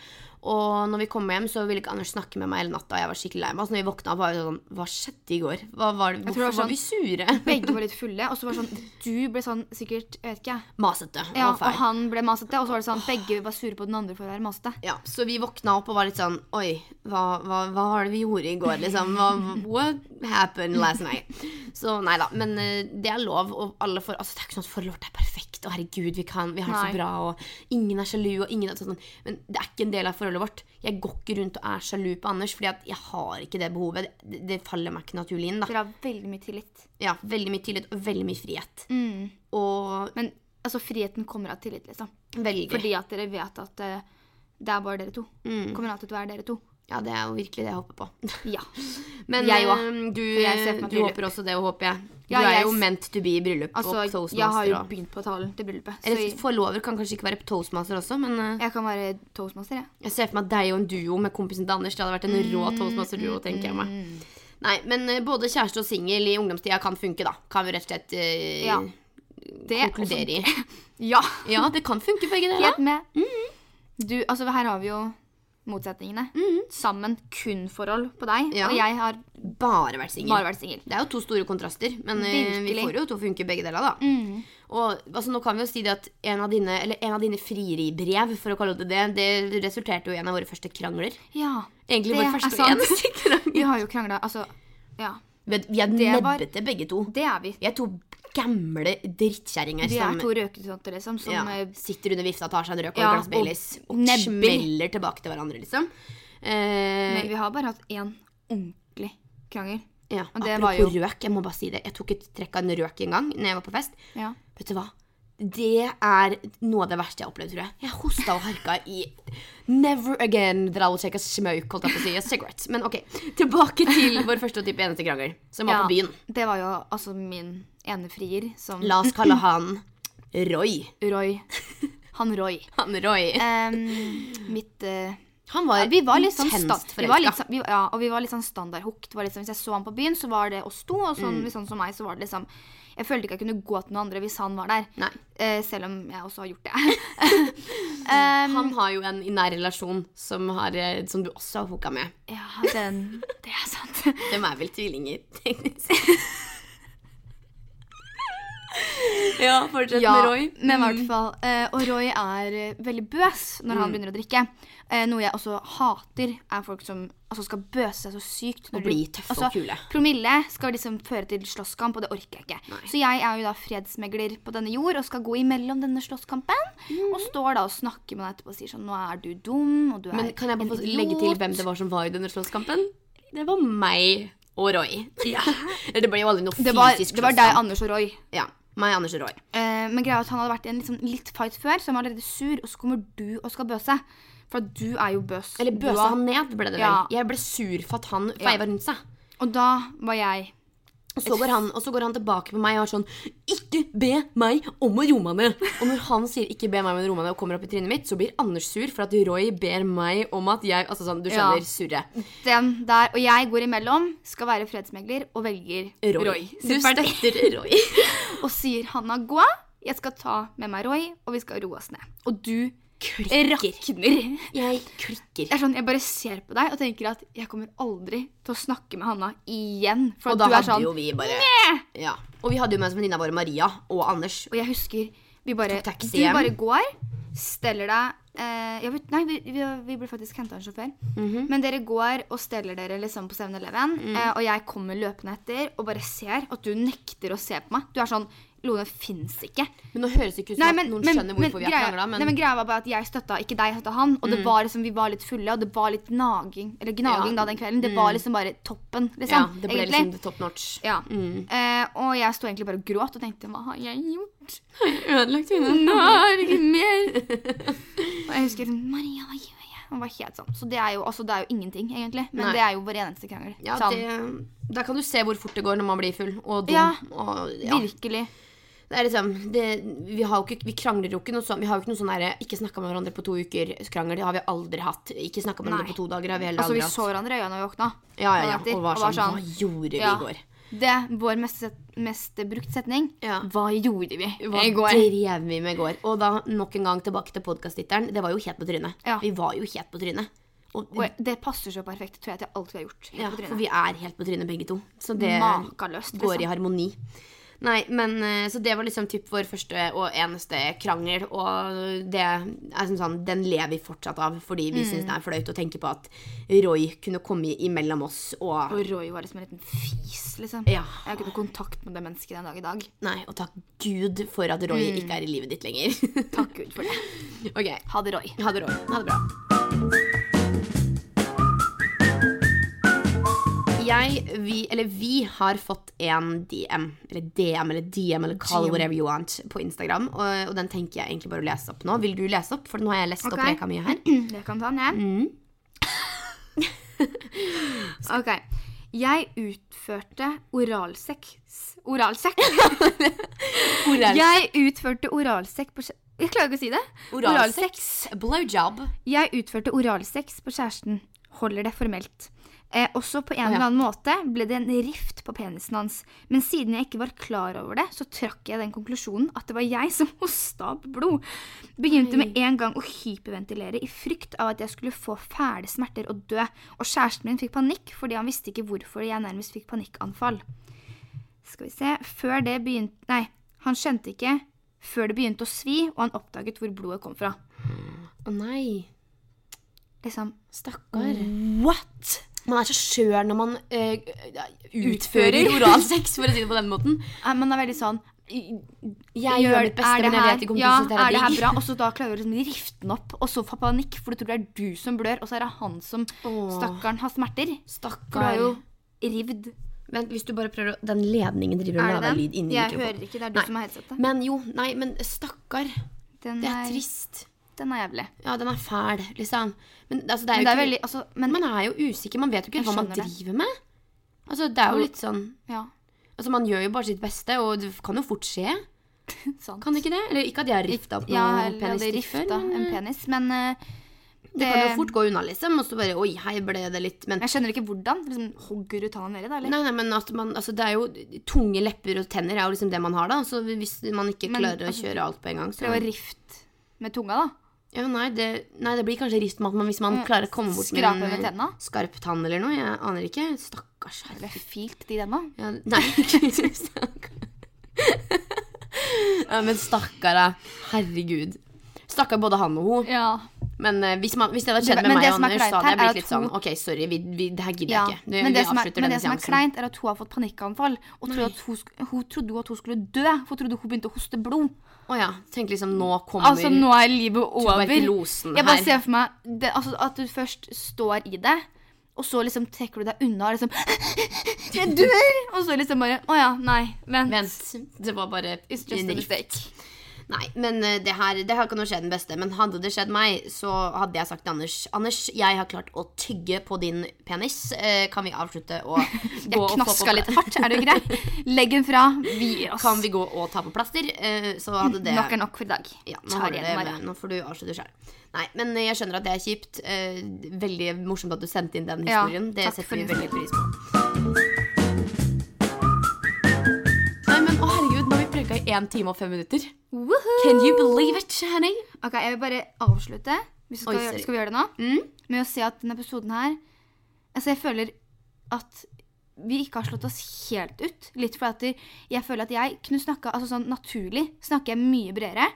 [SPEAKER 1] Og når vi kom hjem, så ville ikke Anders snakke med meg hele natta. og Jeg var skikkelig lei meg. Så når vi våkna, var vi sånn Hva skjedde i går? Hva var det?
[SPEAKER 2] Jeg tror
[SPEAKER 1] Hvorfor
[SPEAKER 2] det var sånn
[SPEAKER 1] var vi sure?
[SPEAKER 2] begge var litt fulle. Og så var det sånn Du ble sånn sikkert Jeg vet ikke, jeg.
[SPEAKER 1] Masete.
[SPEAKER 2] Ja,
[SPEAKER 1] og fæl.
[SPEAKER 2] og han ble masete, og så var det sånn begge var sure på den andre for å være masete.
[SPEAKER 1] Ja, så vi våkna opp og var litt sånn Oi, hva, hva, hva var det vi gjorde i går, liksom? Hva, what happened last night? Så nei da. Men eh, det er lov, og alle får Altså, det er ikke sånn at forhold er perfekt, og herregud, vi kan Vi har det
[SPEAKER 2] Nei.
[SPEAKER 1] så bra, og ingen er sjalu, og ingen er sånn Men det er ikke en del av forholdet vårt. Jeg går ikke rundt og er sjalu på Anders, fordi at jeg har ikke det behovet. Det, det faller meg ikke naturlig inn, da.
[SPEAKER 2] Dere har veldig mye tillit.
[SPEAKER 1] Ja, veldig mye tillit og veldig mye frihet.
[SPEAKER 2] Mm.
[SPEAKER 1] Og
[SPEAKER 2] Men altså, friheten kommer av tillit, liksom.
[SPEAKER 1] veldig
[SPEAKER 2] Fordi at dere vet at eh, det er bare dere to.
[SPEAKER 1] Mm.
[SPEAKER 2] Kommer alltid til å være dere to.
[SPEAKER 1] Ja, det er jo virkelig det jeg håper på.
[SPEAKER 2] Ja.
[SPEAKER 1] Men
[SPEAKER 2] Jeg
[SPEAKER 1] eh,
[SPEAKER 2] også.
[SPEAKER 1] du,
[SPEAKER 2] For jeg ser for meg
[SPEAKER 1] du
[SPEAKER 2] bryllup.
[SPEAKER 1] håper også det, og håper jeg. Du
[SPEAKER 2] Ja,
[SPEAKER 1] er
[SPEAKER 2] jeg
[SPEAKER 1] jo
[SPEAKER 2] s-
[SPEAKER 1] meant to be i bryllup
[SPEAKER 2] Altså,
[SPEAKER 1] og toastmaster.
[SPEAKER 2] jeg har jo
[SPEAKER 1] og-
[SPEAKER 2] begynt på talen til bryllupet, så
[SPEAKER 1] Eller
[SPEAKER 2] jeg,
[SPEAKER 1] forlover kan kanskje ikke være toastmaster også, men eh,
[SPEAKER 2] jeg kan være toastmaster, jeg.
[SPEAKER 1] jeg ser for meg deg og en duo med kompisen til Anders. Det hadde vært en
[SPEAKER 2] Mm,
[SPEAKER 1] rå toastmaster-duo, tenker jeg meg. Nei, men eh, både kjæreste og singel i ungdomstida kan funke, da. Kan vi rett og slett eh,
[SPEAKER 2] Ja. Det er også-
[SPEAKER 1] konkludere i.
[SPEAKER 2] Ja.
[SPEAKER 1] Ja, Mm. det kan funke begge deler.
[SPEAKER 2] Helt med. Du, altså, her har vi jo motsetningene. Sammen kun-forhold på deg,
[SPEAKER 1] Mm. Ja.
[SPEAKER 2] og jeg har
[SPEAKER 1] Bare vært singel.
[SPEAKER 2] bare vært singel.
[SPEAKER 1] Det er jo to store kontraster, men eh, vi
[SPEAKER 2] Virkelig. Mm.
[SPEAKER 1] får jo til å funke begge deler, da. Og altså, nå kan vi jo si det at en av dine, eller en av dine frieribrev, for å kalle det det, det resulterte jo i en av våre første krangler.
[SPEAKER 2] Ja.
[SPEAKER 1] Egentlig
[SPEAKER 2] Det
[SPEAKER 1] vår
[SPEAKER 2] er
[SPEAKER 1] første og
[SPEAKER 2] sant.
[SPEAKER 1] eneste krangel.
[SPEAKER 2] Vi har jo krangla, altså Ja.
[SPEAKER 1] Vet du, Vi er
[SPEAKER 2] Det var-
[SPEAKER 1] nebbete begge to.
[SPEAKER 2] Det er vi.
[SPEAKER 1] Vi er to gamle drittkjerringer
[SPEAKER 2] Vi
[SPEAKER 1] som
[SPEAKER 2] er to røketonter, liksom, som
[SPEAKER 1] ja,
[SPEAKER 2] eh,
[SPEAKER 1] sitter under vifta, tar seg en røk og
[SPEAKER 2] Ja,
[SPEAKER 1] et glass Baileys
[SPEAKER 2] og
[SPEAKER 1] og,
[SPEAKER 2] nebber.
[SPEAKER 1] smeller tilbake til hverandre, liksom. Eh,
[SPEAKER 2] Men vi har bare hatt én ordentlig krangel.
[SPEAKER 1] Ja,
[SPEAKER 2] Og det var
[SPEAKER 1] apropos
[SPEAKER 2] jo-
[SPEAKER 1] røk, jeg må bare si det. Jeg tok et trekk av en røk en gang når jeg var på fest.
[SPEAKER 2] Ja.
[SPEAKER 1] Vet du hva? Det er noe av det verste jeg har opplevd, tror jeg. Jeg hosta og harka i Never again that I will take a smoke, holdt jeg på å si. A cigarette. Men ok, tilbake til vår første og type eneste krangel, som var
[SPEAKER 2] Ja,
[SPEAKER 1] på byen.
[SPEAKER 2] Det var jo altså min ene frier som
[SPEAKER 1] La oss kalle han Roy.
[SPEAKER 2] Roy. Han Roy.
[SPEAKER 1] Han Roy.
[SPEAKER 2] Em, mitt eh,
[SPEAKER 1] Han var,
[SPEAKER 2] ja, Vi var litt sånn sta-
[SPEAKER 1] intenst
[SPEAKER 2] vi var
[SPEAKER 1] forelska.
[SPEAKER 2] litt sånn- vi- Ja, og vi var litt sånn standardhooked. Det var Liksom, hvis jeg så han på byen, så var det oss to. Og
[SPEAKER 1] Mm.
[SPEAKER 2] sånn, hvis han så meg, så var det liksom Jeg følte ikke jeg kunne gå til noen andre hvis han var der.
[SPEAKER 1] Nei.
[SPEAKER 2] Eh, selv om jeg også har gjort det. Em,
[SPEAKER 1] Han har jo en i nær relasjon som, har, eh, som du også har hooka med.
[SPEAKER 2] ja, den Det er sant.
[SPEAKER 1] De er vel tvillinger, teknisk. ja, mm. fortsett
[SPEAKER 2] Ja,
[SPEAKER 1] med Roy.
[SPEAKER 2] men i hvert fall. eh, og Roy er eh, veldig bøs når
[SPEAKER 1] Mm.
[SPEAKER 2] han begynner å drikke. Eh, noe jeg også hater, er folk som altså, skal bøse seg så sykt. når
[SPEAKER 1] Og
[SPEAKER 2] de- altså,
[SPEAKER 1] bli tøffe og kule.
[SPEAKER 2] Promille skal liksom føre til slåsskamp, og det orker jeg ikke. Så jeg er jo da fredsmegler på denne jord og skal gå imellom denne slåsskampen.
[SPEAKER 1] Mhm.
[SPEAKER 2] Og står da og snakker med deg etterpå og sier sånn Nå er du dum, og du er
[SPEAKER 1] Men kan jeg bare
[SPEAKER 2] en
[SPEAKER 1] få legge til
[SPEAKER 2] idiot».
[SPEAKER 1] hvem det var som var i denne slåsskampen? Det var meg og Roy. det ble jo aldri noe
[SPEAKER 2] det var,
[SPEAKER 1] fysisk
[SPEAKER 2] det var deg,
[SPEAKER 1] slåsskamp.
[SPEAKER 2] Anders og Roy.
[SPEAKER 1] Ja, meg, Anders og Roy.
[SPEAKER 2] Eh, men greia er at han hadde vært i en liksom, litt fight før, så han var allerede sur, og så kommer du og skal bøse. For at du er jo bøs.
[SPEAKER 1] Eller
[SPEAKER 2] Du
[SPEAKER 1] bøsa
[SPEAKER 2] har-
[SPEAKER 1] han ned, ble det vel.
[SPEAKER 2] Ja.
[SPEAKER 1] Jeg ble sur for at han
[SPEAKER 2] Ja.
[SPEAKER 1] feiva rundt seg.
[SPEAKER 2] Og da var jeg
[SPEAKER 1] Og så, går han, og så går han tilbake på meg og er sånn Ikke be meg om å roe meg ned! Og når han sier 'ikke be meg om å roe meg ned' og kommer opp i trynet mitt, så blir Anders sur for at Roy ber meg om at jeg Altså sånn, du
[SPEAKER 2] Ja.
[SPEAKER 1] skjønner, surre.
[SPEAKER 2] den der, og jeg går imellom, skal være fredsmegler og velger
[SPEAKER 1] Roy. Du
[SPEAKER 2] Supert.
[SPEAKER 1] støtter Roy.
[SPEAKER 2] Og sier Hanna gå, jeg skal ta med meg Roy, og vi skal roe oss ned. Og du rakner.
[SPEAKER 1] Jeg klikker.
[SPEAKER 2] Jeg, er sånn, jeg bare ser på deg og tenker at jeg kommer aldri til å snakke med Hanna igjen. For
[SPEAKER 1] Og
[SPEAKER 2] at
[SPEAKER 1] da
[SPEAKER 2] du er
[SPEAKER 1] hadde
[SPEAKER 2] sånn
[SPEAKER 1] jo vi bare ja. Og vi hadde jo med oss venninna vår Maria og Anders.
[SPEAKER 2] Og jeg husker vi bare,
[SPEAKER 1] Tok taxi
[SPEAKER 2] Du
[SPEAKER 1] hjem.
[SPEAKER 2] bare går, steller deg eh, jeg vet, Nei, vi, vi, vi ble faktisk henta en sjåfør.
[SPEAKER 1] Mhm.
[SPEAKER 2] Men dere går og steller dere liksom på 7-Eleven,
[SPEAKER 1] Mm.
[SPEAKER 2] eh, og jeg kommer løpende etter og bare ser at du nekter å se på meg. Du er sånn Lone fins ikke.
[SPEAKER 1] Men nå høres det ikke ut som
[SPEAKER 2] Nei,
[SPEAKER 1] at
[SPEAKER 2] men,
[SPEAKER 1] noen
[SPEAKER 2] men,
[SPEAKER 1] skjønner
[SPEAKER 2] men,
[SPEAKER 1] hvorfor vi har
[SPEAKER 2] greia,
[SPEAKER 1] krangla, men, Mm.
[SPEAKER 2] nei, men greia var bare at jeg støtta ikke deg, jeg støtta han. Og det var liksom, vi var litt fulle, og det var litt gnaging Eller gnaging
[SPEAKER 1] Ja. Mm.
[SPEAKER 2] da den kvelden. Det var liksom bare toppen, liksom.
[SPEAKER 1] ja, det ble
[SPEAKER 2] egentlig.
[SPEAKER 1] liksom Mm. the top notch.
[SPEAKER 2] ja. Eh, og jeg sto egentlig bare og gråt og tenkte hva har jeg gjort?
[SPEAKER 1] Ødelagt
[SPEAKER 2] Nå er det ikke mer. Og jeg husker sånn Maria, hva gjør jeg? Hun var helt sånn. Så det er jo, altså, det er jo ingenting, egentlig. Men
[SPEAKER 1] Nei.
[SPEAKER 2] det er jo vår eneste krangel.
[SPEAKER 1] Ja,
[SPEAKER 2] sånn.
[SPEAKER 1] det, eh, da kan du se hvor fort det går når man blir full og dum.
[SPEAKER 2] Ja.
[SPEAKER 1] Og, ja.
[SPEAKER 2] Virkelig.
[SPEAKER 1] Det er liksom, det, vi, har jo ikke, vi krangler jo ikke noe sånn Vi har jo ikke noe sånn derre 'ikke snakka med hverandre på to uker'-krangel. Det har vi aldri hatt. Ikke snakka med
[SPEAKER 2] Nei.
[SPEAKER 1] hverandre på to dager har vi heller
[SPEAKER 2] Altså,
[SPEAKER 1] aldri
[SPEAKER 2] vi så
[SPEAKER 1] hatt.
[SPEAKER 2] hverandre i øynene når vi våkna.
[SPEAKER 1] Ja, ja, ja.
[SPEAKER 2] dagen etter,
[SPEAKER 1] Og var sånn, Hva gjorde vi
[SPEAKER 2] Ja.
[SPEAKER 1] i går?
[SPEAKER 2] Det er vår mest, set- mest brukt setning.
[SPEAKER 1] Ja.
[SPEAKER 2] Hva gjorde vi
[SPEAKER 1] Hva
[SPEAKER 2] i går?
[SPEAKER 1] drev vi med i går? Og da nok en gang tilbake til podkasttittelen. Det var jo helt på trynet.
[SPEAKER 2] Ja.
[SPEAKER 1] Vi var jo helt på trynet. Og,
[SPEAKER 2] Og det passer så perfekt tror jeg, til alt vi har gjort. helt
[SPEAKER 1] ja,
[SPEAKER 2] på trynet.
[SPEAKER 1] for vi er helt på trynet begge to. Så det
[SPEAKER 2] Makeløst, liksom.
[SPEAKER 1] går i harmoni. Nei, men eh, Så det var liksom typ vår første og eneste krangel, og det er som sånn, den lever vi fortsatt av, fordi vi
[SPEAKER 2] Mm.
[SPEAKER 1] syns det er flaut å tenke på at Roy kunne komme imellom oss og
[SPEAKER 2] Og Roy var liksom en liten fis, liksom.
[SPEAKER 1] Ja.
[SPEAKER 2] Jeg har ikke noe kontakt med det mennesket den dag i dag.
[SPEAKER 1] Nei, og takk Gud for at
[SPEAKER 2] Mm.
[SPEAKER 1] Roy ikke er i livet ditt lenger.
[SPEAKER 2] Takk Gud for det.
[SPEAKER 1] ok.
[SPEAKER 2] Ha det, Roy.
[SPEAKER 1] Ha det, Roy. Ha det bra. Jeg, vi, eller vi har fått en DM, eller DM, eller DM, eller call it whatever you want, på Instagram. Og, og den tenker jeg egentlig bare å lese opp nå. Vil du lese opp? For nå har jeg lest
[SPEAKER 2] Ok.
[SPEAKER 1] opp reka mye her.
[SPEAKER 2] Det kan ta den, jeg. ok. Jeg utførte oralsex Oralsekk? Jeg utførte oralsekk på kjæ- Jeg klarer ikke å si det.
[SPEAKER 1] Oralsex. Blowjob.
[SPEAKER 2] Jeg utførte oralsex på kjæresten. Holder det formelt. Eh, også på en
[SPEAKER 1] ja.
[SPEAKER 2] eller annen måte ble det en rift på penisen hans. Men siden jeg ikke var klar over det, så trakk jeg den konklusjonen at det var jeg som hosta opp blod. Begynte med en gang å hyperventilere i frykt av at jeg skulle få fæle smerter og dø. Og kjæresten min fikk panikk fordi han visste ikke hvorfor jeg nærmest fikk panikkanfall. Skal vi se Før det begynte Nei, han skjønte ikke før det begynte å svi, og han oppdaget hvor blodet kom fra.
[SPEAKER 1] Å nei.
[SPEAKER 2] Liksom
[SPEAKER 1] Stakkar. What? Mm. Man er så skjør når man eh, utfører
[SPEAKER 2] Utfører.
[SPEAKER 1] oralsex, for å si det på den måten.
[SPEAKER 2] Nei, Man er veldig sånn
[SPEAKER 1] Jeg gjør mitt beste,
[SPEAKER 2] er det
[SPEAKER 1] men jeg
[SPEAKER 2] her-
[SPEAKER 1] vet ikke om
[SPEAKER 2] ja,
[SPEAKER 1] du syns det
[SPEAKER 2] er det her
[SPEAKER 1] digg.
[SPEAKER 2] bra? Og så da klarer du liksom å rifte den opp, og så får panikk, for du tror det er du som blør, og så er det han som
[SPEAKER 1] Åh.
[SPEAKER 2] Stakkaren har smerter. For du
[SPEAKER 1] Stakkar.
[SPEAKER 2] har jo rivd
[SPEAKER 1] Vent, hvis du bare prøver å Den ledningen driver og
[SPEAKER 2] Er det
[SPEAKER 1] lager lyd
[SPEAKER 2] den?
[SPEAKER 1] inni
[SPEAKER 2] Jeg
[SPEAKER 1] mikrofonen.
[SPEAKER 2] hører ikke. Det er du
[SPEAKER 1] Nei.
[SPEAKER 2] som har headsetet.
[SPEAKER 1] Men jo, nei, men stakkar.
[SPEAKER 2] Den
[SPEAKER 1] Det er
[SPEAKER 2] er,
[SPEAKER 1] trist.
[SPEAKER 2] den er jævlig.
[SPEAKER 1] Ja, den er fæl, liksom. Men altså,
[SPEAKER 2] Men det
[SPEAKER 1] det er jo
[SPEAKER 2] er
[SPEAKER 1] ikke
[SPEAKER 2] veldig altså, men,
[SPEAKER 1] Man er jo usikker. Man vet jo
[SPEAKER 2] Jeg
[SPEAKER 1] ikke hva man
[SPEAKER 2] skjønner det.
[SPEAKER 1] driver med. Altså, det er jo litt sånn
[SPEAKER 2] Ja,
[SPEAKER 1] Altså, Man gjør jo bare sitt beste, og det kan jo fort skje.
[SPEAKER 2] sant.
[SPEAKER 1] Kan det ikke det? Eller ikke at jeg har rifta opp noe
[SPEAKER 2] ja, eller
[SPEAKER 1] penis
[SPEAKER 2] hadde
[SPEAKER 1] til
[SPEAKER 2] rifta
[SPEAKER 1] før, men
[SPEAKER 2] en penis, men eh,
[SPEAKER 1] det kan jo fort gå unna, liksom. Og så bare Oi, hei, ble det litt Men
[SPEAKER 2] Jeg skjønner ikke hvordan. Liksom, hogger du tanna nedi, da? Eller?
[SPEAKER 1] Nei, nei, men at man, altså, det er jo Tunge lepper og tenner er jo liksom det man har, da. Så hvis man ikke
[SPEAKER 2] Men,
[SPEAKER 1] klarer å
[SPEAKER 2] altså,
[SPEAKER 1] kjøre alt på en gang, så
[SPEAKER 2] Prøv å rift med tunga, da.
[SPEAKER 1] ja, nei, det, nei, det blir kanskje rift med at man hvis man
[SPEAKER 2] Mm,
[SPEAKER 1] klarer å komme bort med
[SPEAKER 2] skrape
[SPEAKER 1] en
[SPEAKER 2] med
[SPEAKER 1] eh,
[SPEAKER 2] tenna?
[SPEAKER 1] skarp tann eller noe. Jeg aner ikke. Stakkars
[SPEAKER 2] Eller
[SPEAKER 1] herre.
[SPEAKER 2] filt de denna.
[SPEAKER 1] Ja, nei, stakkar. ja, men stakkar, da. Herregud. Stakkar både han og hun.
[SPEAKER 2] Ja.
[SPEAKER 1] Men eh, hvis, man, hvis det hadde skjedd
[SPEAKER 2] Men- men
[SPEAKER 1] med meg
[SPEAKER 2] det
[SPEAKER 1] og
[SPEAKER 2] som er
[SPEAKER 1] Anders, så
[SPEAKER 2] kleint her er
[SPEAKER 1] hadde jeg blitt litt
[SPEAKER 2] at
[SPEAKER 1] sånn
[SPEAKER 2] hun-
[SPEAKER 1] OK, sorry, vi, vi, det her gidder
[SPEAKER 2] ja.
[SPEAKER 1] jeg ikke. Vi,
[SPEAKER 2] Men det, som
[SPEAKER 1] vi
[SPEAKER 2] er,
[SPEAKER 1] avslutter
[SPEAKER 2] men det
[SPEAKER 1] denne
[SPEAKER 2] som er
[SPEAKER 1] seansen.
[SPEAKER 2] kleint, er at hun har fått panikkanfall. Og trodde at hun, sk- hun trodde jo at hun skulle dø, for hun trodde hun begynte å hoste blod.
[SPEAKER 1] Å ja. Tenk liksom, nå kommer
[SPEAKER 2] Altså, nå er livet over.
[SPEAKER 1] tuberkulosen
[SPEAKER 2] Jeg bare
[SPEAKER 1] her.
[SPEAKER 2] ser for meg det, altså, at du først står i det, og så liksom trekker du deg unna og liksom Jeg dør! Og så liksom bare Å ja, nei, vent.
[SPEAKER 1] Vent, det var bare
[SPEAKER 2] It's just
[SPEAKER 1] en
[SPEAKER 2] a
[SPEAKER 1] rift.
[SPEAKER 2] mistake.
[SPEAKER 1] Nei, men eh, det her, det her kan jo skje den beste. Men hadde det skjedd meg, så hadde jeg sagt til Anders Anders, jeg har klart å tygge på din penis. Eh, Kan vi avslutte og gå
[SPEAKER 2] Jeg
[SPEAKER 1] og få på
[SPEAKER 2] knaska
[SPEAKER 1] pla-
[SPEAKER 2] litt hardt, er du grei? Legg den fra. Vi gir oss.
[SPEAKER 1] Kan vi gå og ta på plaster? Eh, Så hadde det
[SPEAKER 2] Nok er nok for i dag.
[SPEAKER 1] ja, nå,
[SPEAKER 2] Kjære
[SPEAKER 1] har dere-
[SPEAKER 2] Maria.
[SPEAKER 1] nå får du avslutte sjøl. Nei, men jeg skjønner at det er kjipt. Eh, Veldig morsomt at du sendte inn den
[SPEAKER 2] Ja,
[SPEAKER 1] historien. det
[SPEAKER 2] takk for
[SPEAKER 1] setter vi
[SPEAKER 2] den.
[SPEAKER 1] veldig pris på. Nei, men å herregud, nå har vi preka i 1 time og 5 minutter.
[SPEAKER 2] Woohoo!
[SPEAKER 1] Can you believe it, honey?
[SPEAKER 2] Ok, Jeg vil bare avslutte hvis vi skal,
[SPEAKER 1] Oi,
[SPEAKER 2] gjøre-
[SPEAKER 1] sorry. Mm.
[SPEAKER 2] skal vi gjøre det nå, med å si at denne episoden her Altså, jeg føler at vi ikke har slått oss helt ut. Litt fordi at jeg føler at jeg kunne snakka altså sånn naturlig snakker jeg mye bredere.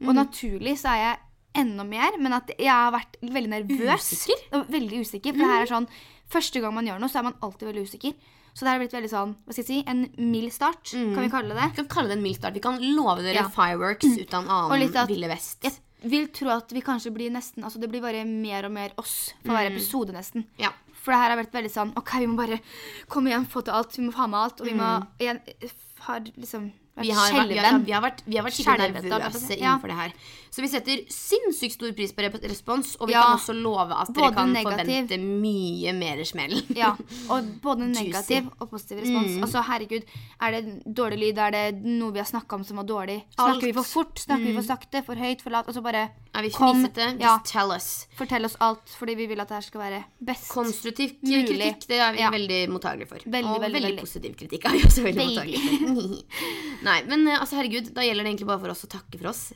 [SPEAKER 2] Og
[SPEAKER 1] Mm.
[SPEAKER 2] naturlig så er jeg enda mer, men at jeg har vært veldig nervøs.
[SPEAKER 1] Usikker? Mm.
[SPEAKER 2] Og veldig usikker. For det her er sånn Første gang man gjør noe, så er man alltid veldig usikker. Så det her har blitt veldig sånn, hva skal jeg si, en mild start,
[SPEAKER 1] Mm.
[SPEAKER 2] kan vi kalle det.
[SPEAKER 1] Vi kan kalle det en mild start. Vi kan love dere
[SPEAKER 2] Ja.
[SPEAKER 1] fireworks uten
[SPEAKER 2] Og
[SPEAKER 1] annen
[SPEAKER 2] litt at-
[SPEAKER 1] ville vest.
[SPEAKER 2] Jeg vil tro at vi kanskje blir nesten Altså det blir bare mer og mer oss for hver episode, nesten.
[SPEAKER 1] Mm. Ja.
[SPEAKER 2] For det her har vært veldig sånn OK, vi må bare komme igjen, få til alt. Vi må ha med alt. Og vi må jeg, har liksom vært
[SPEAKER 1] Mm. Vi har, vært, vi, har,
[SPEAKER 2] skjelven.
[SPEAKER 1] vi, har vært, vi har vært skikkelig
[SPEAKER 2] Skjelven, da,
[SPEAKER 1] nervøse
[SPEAKER 2] ja.
[SPEAKER 1] innenfor det her. Så vi setter sinnssykt stor pris på rep- respons, og vi
[SPEAKER 2] Ja.
[SPEAKER 1] kan også love at dere
[SPEAKER 2] Både
[SPEAKER 1] kan
[SPEAKER 2] negativ-
[SPEAKER 1] forvente mye mer smell.
[SPEAKER 2] Ja, og både negativ og positiv respons.
[SPEAKER 1] Mm.
[SPEAKER 2] Altså, herregud, er det dårlig lyd? Er det noe vi har snakka om som var dårlig? Snakker
[SPEAKER 1] Alt.
[SPEAKER 2] vi for fort? Snakker vi for sakte? For høyt? For lavt? Og så bare
[SPEAKER 1] Mm. Er vi
[SPEAKER 2] kom,
[SPEAKER 1] fnisete? Just
[SPEAKER 2] Ja,
[SPEAKER 1] tell us.
[SPEAKER 2] fortell oss alt, fordi vi vil at det her skal være best.
[SPEAKER 1] Konstruktiv k-
[SPEAKER 2] Mulig.
[SPEAKER 1] kritikk, det er vi
[SPEAKER 2] Ja.
[SPEAKER 1] veldig mottagelige for.
[SPEAKER 2] Veldig,
[SPEAKER 1] og
[SPEAKER 2] veldig,
[SPEAKER 1] veldig,
[SPEAKER 2] veldig.
[SPEAKER 1] positiv kritikk er vi også veldig
[SPEAKER 2] Veldig.
[SPEAKER 1] mottagelige for. Nei, men eh, altså, herregud, da gjelder det egentlig bare for oss å takke for oss.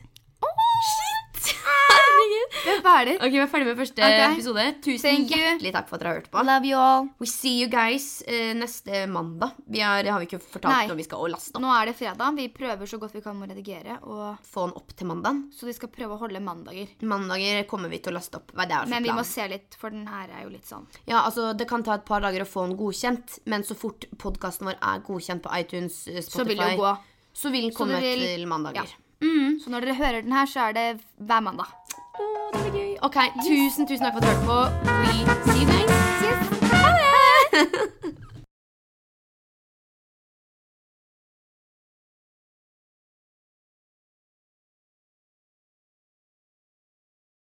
[SPEAKER 1] Shit! Herregud.
[SPEAKER 2] Vi er ferdig.
[SPEAKER 1] Ok, vi er ferdig med første
[SPEAKER 2] Ok.
[SPEAKER 1] episode. Tusen
[SPEAKER 2] Thank you.
[SPEAKER 1] hjertelig takk for at dere har hørt på.
[SPEAKER 2] Love you all.
[SPEAKER 1] We see you guys eh, neste mandag. Vi har, har vi ikke fortalt
[SPEAKER 2] Nei.
[SPEAKER 1] når vi skal å laste opp.
[SPEAKER 2] Nå er det fredag. Vi prøver så godt vi kan å redigere. Og,
[SPEAKER 1] Få den opp til mandagen.
[SPEAKER 2] så vi skal prøve å holde mandager.
[SPEAKER 1] Mandager kommer vi til å laste opp. Nei, Det er altså
[SPEAKER 2] Men vi må
[SPEAKER 1] planen.
[SPEAKER 2] se litt, for den her er jo litt sånn.
[SPEAKER 1] Ja, altså, det kan ta et par dager å få den godkjent, men så fort podkasten vår er godkjent på iTunes, eh, Spotify,
[SPEAKER 2] Så vil det jo gå.
[SPEAKER 1] så vil den komme
[SPEAKER 2] det vil-
[SPEAKER 1] til mandager.
[SPEAKER 2] Ja. Så når dere hører den her, så er det hver mandag.
[SPEAKER 1] Å, det blir gøy. Ok, tusen, tusen takk for at du hørte på. We see you guys.